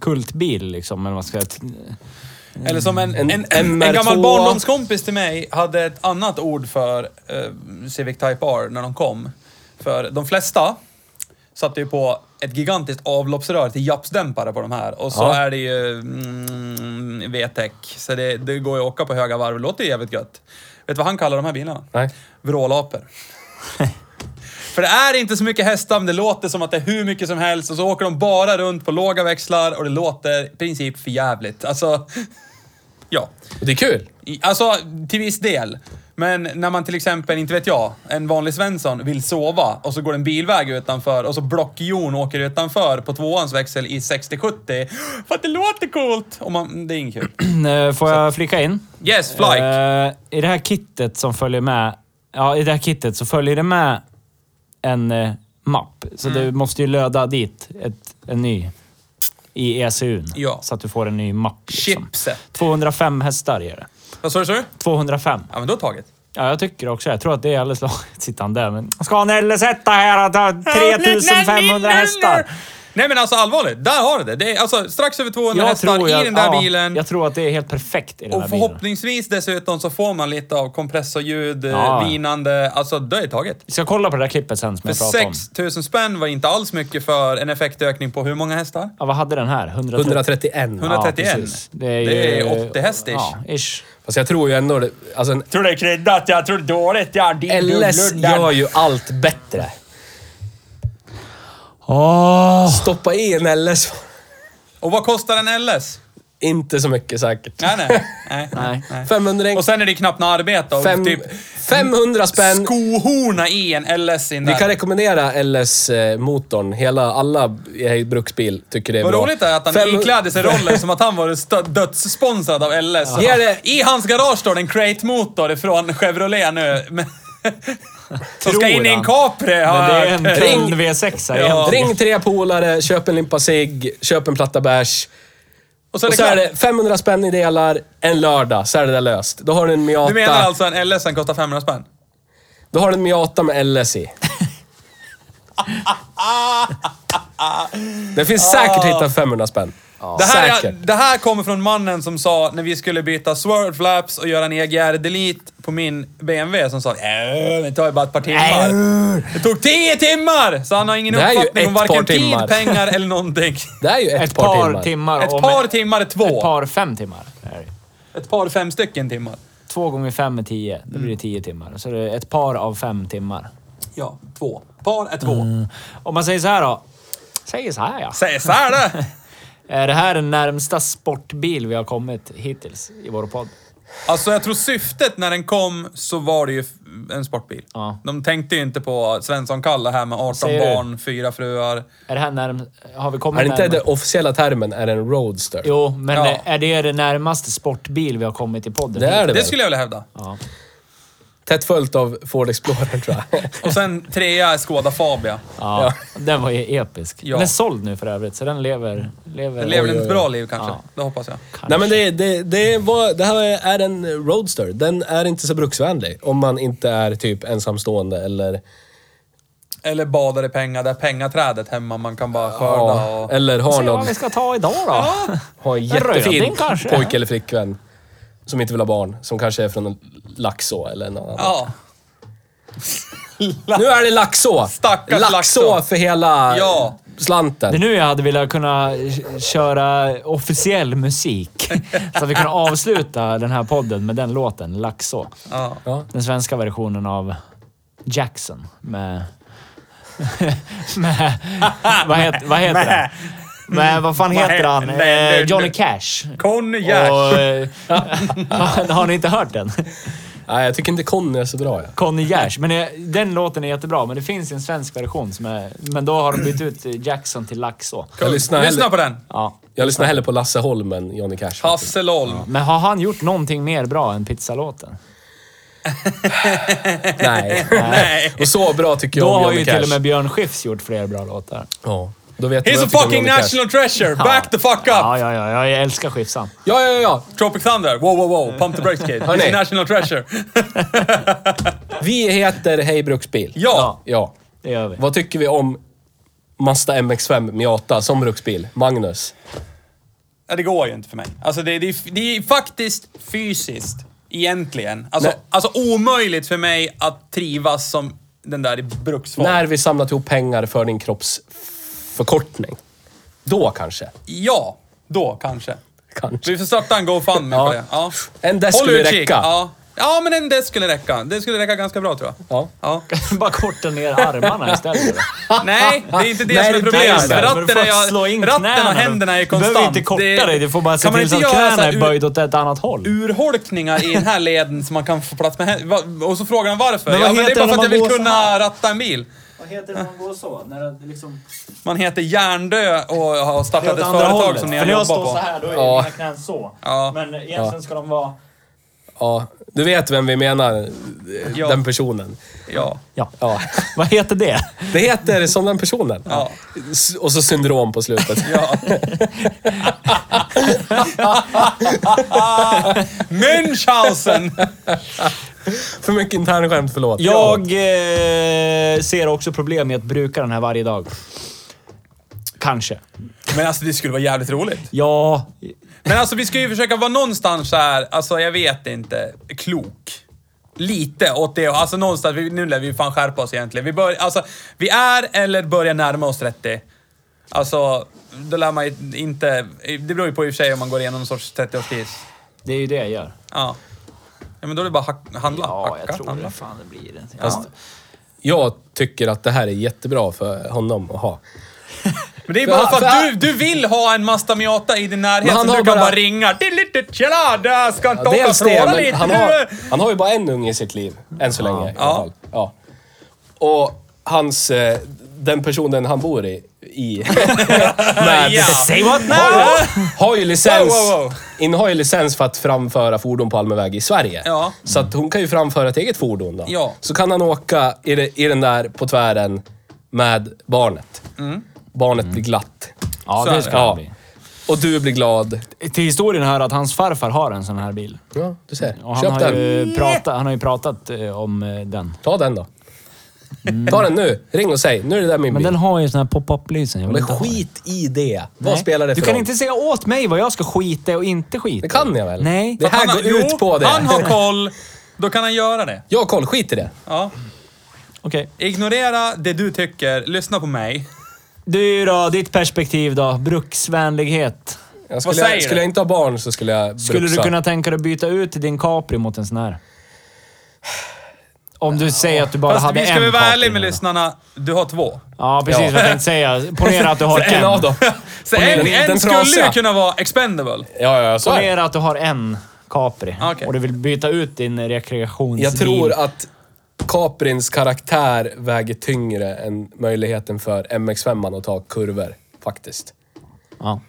A: kultbil, liksom. Eller vad man ska,
D: Eller som en,
B: En
D: en, en, en,
B: MR2.
D: gammal barndomskompis till mig hade ett annat ord för eh, Civic Type R när de kom. För de flesta satte ju på ett gigantiskt avloppsrör till japsdämpare på de här. Och så
A: Ja.
D: är det ju mm, VTEC, så det, det går ju att åka på höga varv. Det låter ju jävligt gött. Vet du vad han kallar de här bilarna?
B: Nej.
D: Vrålapor. För det är inte så mycket hästar, men det låter som att det är hur mycket som helst. Och så åker de bara runt på låga växlar och det låter i princip för jävligt. Alltså, ja.
B: Och det är kul.
D: I- Alltså, till viss del. Men när man till exempel, inte vet jag, en vanlig Svensson vill sova och så går det en bilväg utanför och så blockjon åker utanför på tvåans växel i 60-70. För att det låter coolt! Och man, det är inget kul.
A: Eh, Får jag flika in?
D: Yes, Flyke!
A: Eh, I det här kittet som följer med... Ja, i det här kittet så följer det med en eh, mapp. Så
D: Mm.
A: du måste ju löda dit ett, en ny i ECUn.
D: Ja.
A: Så att du får en ny mapp. Liksom.
D: Chipset.
A: 205 hästar ger det.
D: Vad sa du, sa du?
A: 205.
D: Ja, men då taget.
A: Ja, jag tycker också Jag tror att det är alldeles lagom. Sitter han där men... Ska han LZ här att ha 3500 hästar?
D: Nej men alltså allvarligt, där har du det. det är, alltså, strax över 200
A: Jag
D: hästar
A: tror jag,
D: i den där
A: ja,
D: bilen.
A: Jag tror att det är helt perfekt i den
D: Och
A: där bilen.
D: förhoppningsvis dessutom så får man lite av kompressorljud, eh,
A: Ja.
D: vinande. Alltså, då är det taget.
A: Vi ska kolla på det där klippet sen som
D: För
A: jag pratade om.
D: 6 000 spänn var inte alls mycket för en effektökning på hur många hästar?
A: Ja, vad hade den här? 130?
B: 131.
D: 131.
A: Ja, precis. det är, ju,
D: Det är 80 häst-ish.
A: Ja, ish.
B: Fast jag tror ju ändå... det- Alltså en
A: Tror det är kryddat, jag tror dåligt. Jag
B: LS gör ju allt bättre. Stoppa i en LS.
D: Och vad kostar en LS?
B: Inte så mycket säkert.
D: Nej, nej. nej,
A: Nej.
D: nej. nej.
B: 500
D: Och sen är det knappt något arbete. Och
B: fem,
D: typ
B: 500 spänn.
D: skohorna i en LS in
B: Vi kan
D: där.
B: rekommendera LS-motorn. Hela, alla i Hej bruksbil tycker det är
D: Vad
B: bra.
D: roligt det är att han
B: Fem-
D: iklädde sig rollen som att han var stö- dödssponsrad av LS. Så
B: Ge det-
D: I hans garage står det en Crate-motor från Chevrolet nu. Men- Som ska
A: Tror
D: in i en
A: han.
D: Capri har
A: Men det
D: jag
A: är en
D: hört.
B: Ring.
A: Ring V6 här
D: Ja.
A: egentligen.
B: Ring tre polare, köp en limpa cigg, köp en platta bärs.
D: Och så är
B: Och
D: det
B: så
D: klart.
B: är det 500 spänn i delar, en lördag, så är det där löst. Då har du en Miata,
D: Du menar alltså en LS som kostar 500 spänn?
B: då har du en Miata med LS i. Det finns säkert hitta 500 spänn.
D: Det här, är,
B: säkert.
D: det här kommer från mannen som sa när vi skulle byta swerve flaps och göra en EGR delete på min BMW som sa "Äh, det tar ju bara ett par timmar. Det tog tio timmar! Så han har ingen
B: Det är ju
D: uppfattning om
B: ett par
D: varken tid,
B: timmar.
D: pengar eller någonting.
B: Det är ju ett,
A: Ett par timmar.
D: Ett
A: och
D: par
A: med-
D: timmar är två.
A: Ett par fem timmar. är det.
D: Ett par fem stycken timmar.
A: Två gånger fem är tio. Då blir det tio timmar. Så det är ett par av fem timmar.
D: Ja, två. Par är två.
A: Om man säger så här då. Säger så här ja.
D: Säg så här det.
A: Är det här den närmsta sportbil vi har kommit hittills i vår podd?
D: Alltså jag tror syftet när den kom så var det ju f- en sportbil.
A: Ja.
D: De tänkte ju inte på Svensson-Kalle här med 18
A: Säger du?
D: barn, fyra fruar.
A: Är det här närm... Har vi kommit
B: Är det inte
A: närmare?
B: den officiella termen är en roadster?
A: Jo, men
D: Ja.
A: är det det närmaste sportbil vi har kommit i podden?
B: Det är det,
D: Det
B: väl?
D: skulle jag vilja hävda.
B: Tätt följt av Ford Explorer tror jag.
D: Och sen trea är Skoda Fabia.
A: Ja, den var ju episk.
D: Ja.
A: Den är såld nu för övrigt, så den lever... lever
D: Det lever
B: oj,
D: ett
B: oj.
D: bra liv kanske.
A: Ja.
D: Det hoppas jag.
B: Nej men det, det, det, var, det här är en roadster. Den är inte så bruksvänlig om man inte är typ ensamstående eller...
D: Eller badar i pengar, där pengaträdet hemma man kan bara skörda
B: Ja,
D: och...
B: eller
A: Vi
B: har
A: ser
B: någon
A: vad vi ska ta idag då.
B: har en
A: röding
B: jättefin
A: kanske.
B: pojke eller flickvän som inte vill ha barn. Som kanske är från Laxå eller någon annan.
D: Ja.
B: Nu är det Laxå!
D: Stackars
B: Laxå
D: Laxå.
B: för hela
D: Ja.
A: Det är
B: slanten.
A: nu jag hade velat kunna köra officiell musik. Så att vi kan avsluta den här podden med den låten, Laxå.
D: ja.
A: Den svenska versionen av Jackson med... med vad, het, vad heter han? Men vad fan heter
D: he-
A: han?
D: nej,
A: Eh,
D: nu-
A: Johnny
D: nu-
A: Cash.
D: Konjak!
A: Och, eh, har, har ni inte hört den?
B: Nej, jag tycker inte Conny är så bra. Jag.
A: Conny Gers. Men eh, den låten är jättebra, men det finns en svensk version som är... Men då har de bytt ut eh, Jackson till Laxå.
B: Jag lyssnar,
D: Lyssna
B: hellre,
D: på den!
A: Ja.
B: jag lyssnar hellre på Lasse Holm än Johnny Cash. faktiskt.
D: Hasselholm.
A: Men har han gjort någonting mer bra än pizzalåten?
B: Nej.
D: Nej.
B: Och så bra tycker jag
A: Då
B: om
A: har
B: Johnny
A: ju
B: Cash.
A: till och med Björn Skifs gjort fler bra låtar.
B: Ja. Då vet du
D: He's
B: vad
D: a
B: jag tycker om
D: fucking
B: Johnny Cash.
D: national treasure! Back the fuck up!
A: Ja, ja, ja. Jag älskar Skifsan.
B: Ja, ja, ja.
D: Tropic Thunder. Wow, wow, wow. Pump the brakes kid. He's
B: Hörni.
D: a national treasure.
B: Vi heter Hej Bruksbil.
D: Ja.
B: Ja.
A: Det gör vi.
B: Vad tycker vi om Mazda MX-5 Miata som bruksbil? Magnus?
D: Ja, det går ju inte för mig. Alltså det, det, är- det är faktiskt fysiskt, egentligen. Alltså,
B: Nej.
D: alltså omöjligt för mig att trivas som den där i bruksform.
B: När vi samlat ihop pengar för din kroppsförkortning. Då kanske.
D: Ja, då kanske.
B: Kanske.
D: Vi får starta en GoFundMe
B: Ja.
D: på det. Ja.
B: En desk
D: Håll
B: skulle
D: utkik.
B: räcka.
D: Ja. ja, men en desk skulle räcka. Det skulle räcka ganska bra tror jag.
B: Ja.
A: Bara korta ner armarna istället.
D: Nej, det är inte det
B: Nej,
D: som
B: det
D: är
B: är det.
D: problemet. För
A: Men du
D: ratten,
A: får
D: är, jag-
A: slå in
D: ratten
A: knäna
D: och
A: då.
D: händerna är
A: Du
D: konstant.
A: behöver inte korta
D: Det-
A: dig, du får bara se
D: Kan man
A: till
D: inte
A: så att
D: göra så
A: knäna
D: här
A: är
D: ur-
A: böjd åt ett annat håll.
D: urholkningar i den här leden så man kan få plats med händerna. Va- Och så frågar han varför.
A: Men vad
D: ja, men det är
A: heter
D: bara för
A: det
D: att
A: när
D: jag
A: man går
D: vill
A: så
D: kunna
A: här?
D: ratta en bil.
A: Vad heter det när man går så? När det liksom...
D: Man heter Hjärndö och har startat ett företag som ni har
A: För när jag
D: jobbat
A: står så
D: på.
A: här, då är
B: Ja.
A: mina knän så.
D: Ja.
A: Men egentligen ska de vara...
B: ja. Du vet vem vi menar.
D: Ja.
B: Den personen.
D: Ja.
A: Ja.
B: Ja.
A: Vad heter det?
B: Det heter som den personen.
D: Ja.
B: S- Och så syndrom på slutet.
D: ja. Münchhausen!
B: För mycket internskämt, förlåt.
A: Jag eh, ser också problem med att bruka den här varje dag. Kanske.
D: Men alltså det skulle vara jävligt roligt.
A: Ja,
D: Men alltså vi ska ju försöka vara någonstans så här, alltså jag vet inte, klok. Lite åt det Alltså någonstans, vi- nu lär vi ju fan skärpa oss egentligen. Vi, bör, alltså, vi är eller börjar närma oss 30. Alltså, då lär man ju inte... Det beror ju på i och för sig om man går igenom någon sorts 30-årskris.
A: det är ju det jag gör.
D: Ja. ja. Men då är det bara hack, handla.
A: Ja,
D: hacka,
A: jag tror
D: handla.
A: det. Fan, det blir det. Ja.
B: Fast- Jag tycker att det här är jättebra för honom att ha.
D: Men det är
B: För
D: bara
B: han-
D: för,
B: för
D: att
B: han-
D: du, du vill ha en Masta Miata i din närhet
B: Men han
D: så du
B: har
D: kan bara,
B: bara-
D: ringa. Tillitit, Tjena, där ska inte åka
B: Dels det,
D: fråga
B: men
D: lite
B: han
D: nu.
B: har, han har ju bara en unge i sitt liv. Än så länge i alla
D: Ja.
B: fall. Ja. Och hans... eh, Den personen han bor i... i med,
D: Ja.
A: Say what now?
B: har, ju, har, ju licens,
D: Wow, wow, wow.
B: In har ju licens för att framföra fordon på allmän väg i Sverige.
D: Ja.
B: Så att hon kan ju framföra ett eget fordon då.
D: Ja.
B: Så kan han åka i, det- i den där på tvären med barnet. Barnet blir glatt.
A: Ja,
D: Så är
A: det
D: det.
A: ska det
B: Ja.
A: bli.
B: Och du blir glad.
A: Till historien hör att hans farfar har en sån här bil.
B: Ja, du ser.
A: Och han,
B: Köp
A: har
B: den.
A: ju pratat, han har ju pratat eh, om eh, den.
B: Ta den då. Ta den nu. Ring och säg. Nu är det där min
A: Men
B: bil.
A: den har ju sån här pop-up-lysen. Jag vill
B: Men
A: inte ha den.
B: skit i det. Vad
A: Nej.
B: spelar det för
A: Du kan
B: roll?
A: inte säga åt mig vad jag ska skita i och inte skita
B: Det
A: i.
B: kan jag väl?
A: Nej.
B: Det här
D: Han
B: går
D: har-
B: ut
D: jo,
B: på det.
D: Han har koll. Då kan han göra det.
B: Jag har koll. Skit i det.
D: Ja.
A: Okej.
D: Ignorera det du tycker. Lyssna på mig.
A: Du då, ditt perspektiv då? Bruksvänlighet.
B: Jag skulle,
D: säger du?
B: skulle jag inte ha barn så skulle jag
A: Skulle
B: bruxa.
A: du kunna tänka dig att byta ut din Capri mot en sån här? Om du säger att du bara
D: Fast
A: hade
D: vi ska
A: en
D: väl vara
A: Capri
D: ärliga med
A: nu då.
D: lyssnarna. Du har två.
A: Ja, precis vad jag tänkte säga. Ponera att du har
B: En av
A: en.
B: dem.
D: Så
B: Och
D: en,
B: den-
D: en
B: den
D: skulle ju
B: trasiga.
D: kunna vara expendable.
B: Ja, ja, så är det.
A: Ponera att du har en Capri
D: Okej.
A: och du vill byta ut din rekreationsbil.
B: Jag tror att Caprins karaktär väger tyngre än möjligheten för MX5 att ta kurvor. Faktiskt.
A: Ja.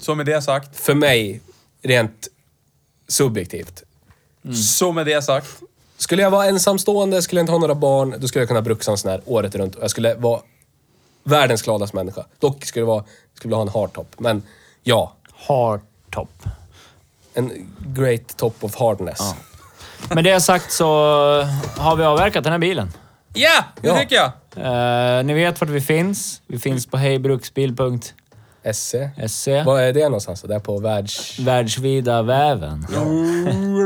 D: Så med det sagt.
B: För mig, rent subjektivt.
A: Mm.
D: Så med det sagt.
B: Skulle jag vara ensamstående, skulle jag inte ha några barn, då skulle jag kunna bruxa en sån här året runt. Jag skulle vara världens gladaste människa. Dock skulle jag vara, skulle vilja ha en hardtop. Men ja,
A: Hardtop.
B: en great top of hardness.
A: Med det sagt så har vi avverkat den här bilen.
D: Ja, det
B: Ja.
D: tycker jag.
A: Eh, ni vet vart vi finns. Vi finns på hejbruksbil.se.
B: SE. Vad är det någonstans? Det är på världs...
A: E. Världsvida väven.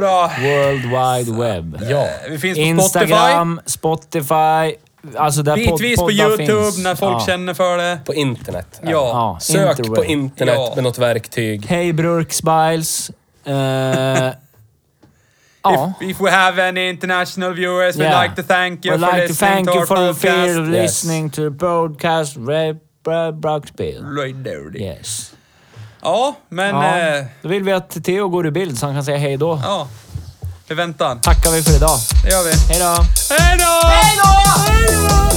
D: Bra.
A: World Wide Web.
B: Ja.
D: Vi finns på Spotify.
A: Instagram, Spotify. Alltså där
D: Bitvis
A: pod-
D: på
A: poddar
D: YouTube
A: finns.
D: när folk
A: ja.
D: känner för det.
B: På internet.
D: Ja.
A: Ja,
B: Sök på
A: interweb.
B: internet
D: Ja.
B: med något verktyg.
A: Hej Burksbiles. Eh, ja.
D: If, if we have any international viewers, we'd
A: Yeah.
D: like to thank you
A: We'd
D: for
A: like to
D: listening
A: thank
D: to
A: you
D: our
A: for
D: podcast.
A: for listening to the podcast Ray Bruksbil.
D: Right there.
A: Yes.
D: Ja, men...
A: Ja.
D: eh,
A: Då vill vi att Theo går ur bild så han kan säga hej då.
D: Ja. Förväntan.
A: Tackar vi för idag.
D: Det gör vi.
A: Hej då!
D: Hej då! Hej då!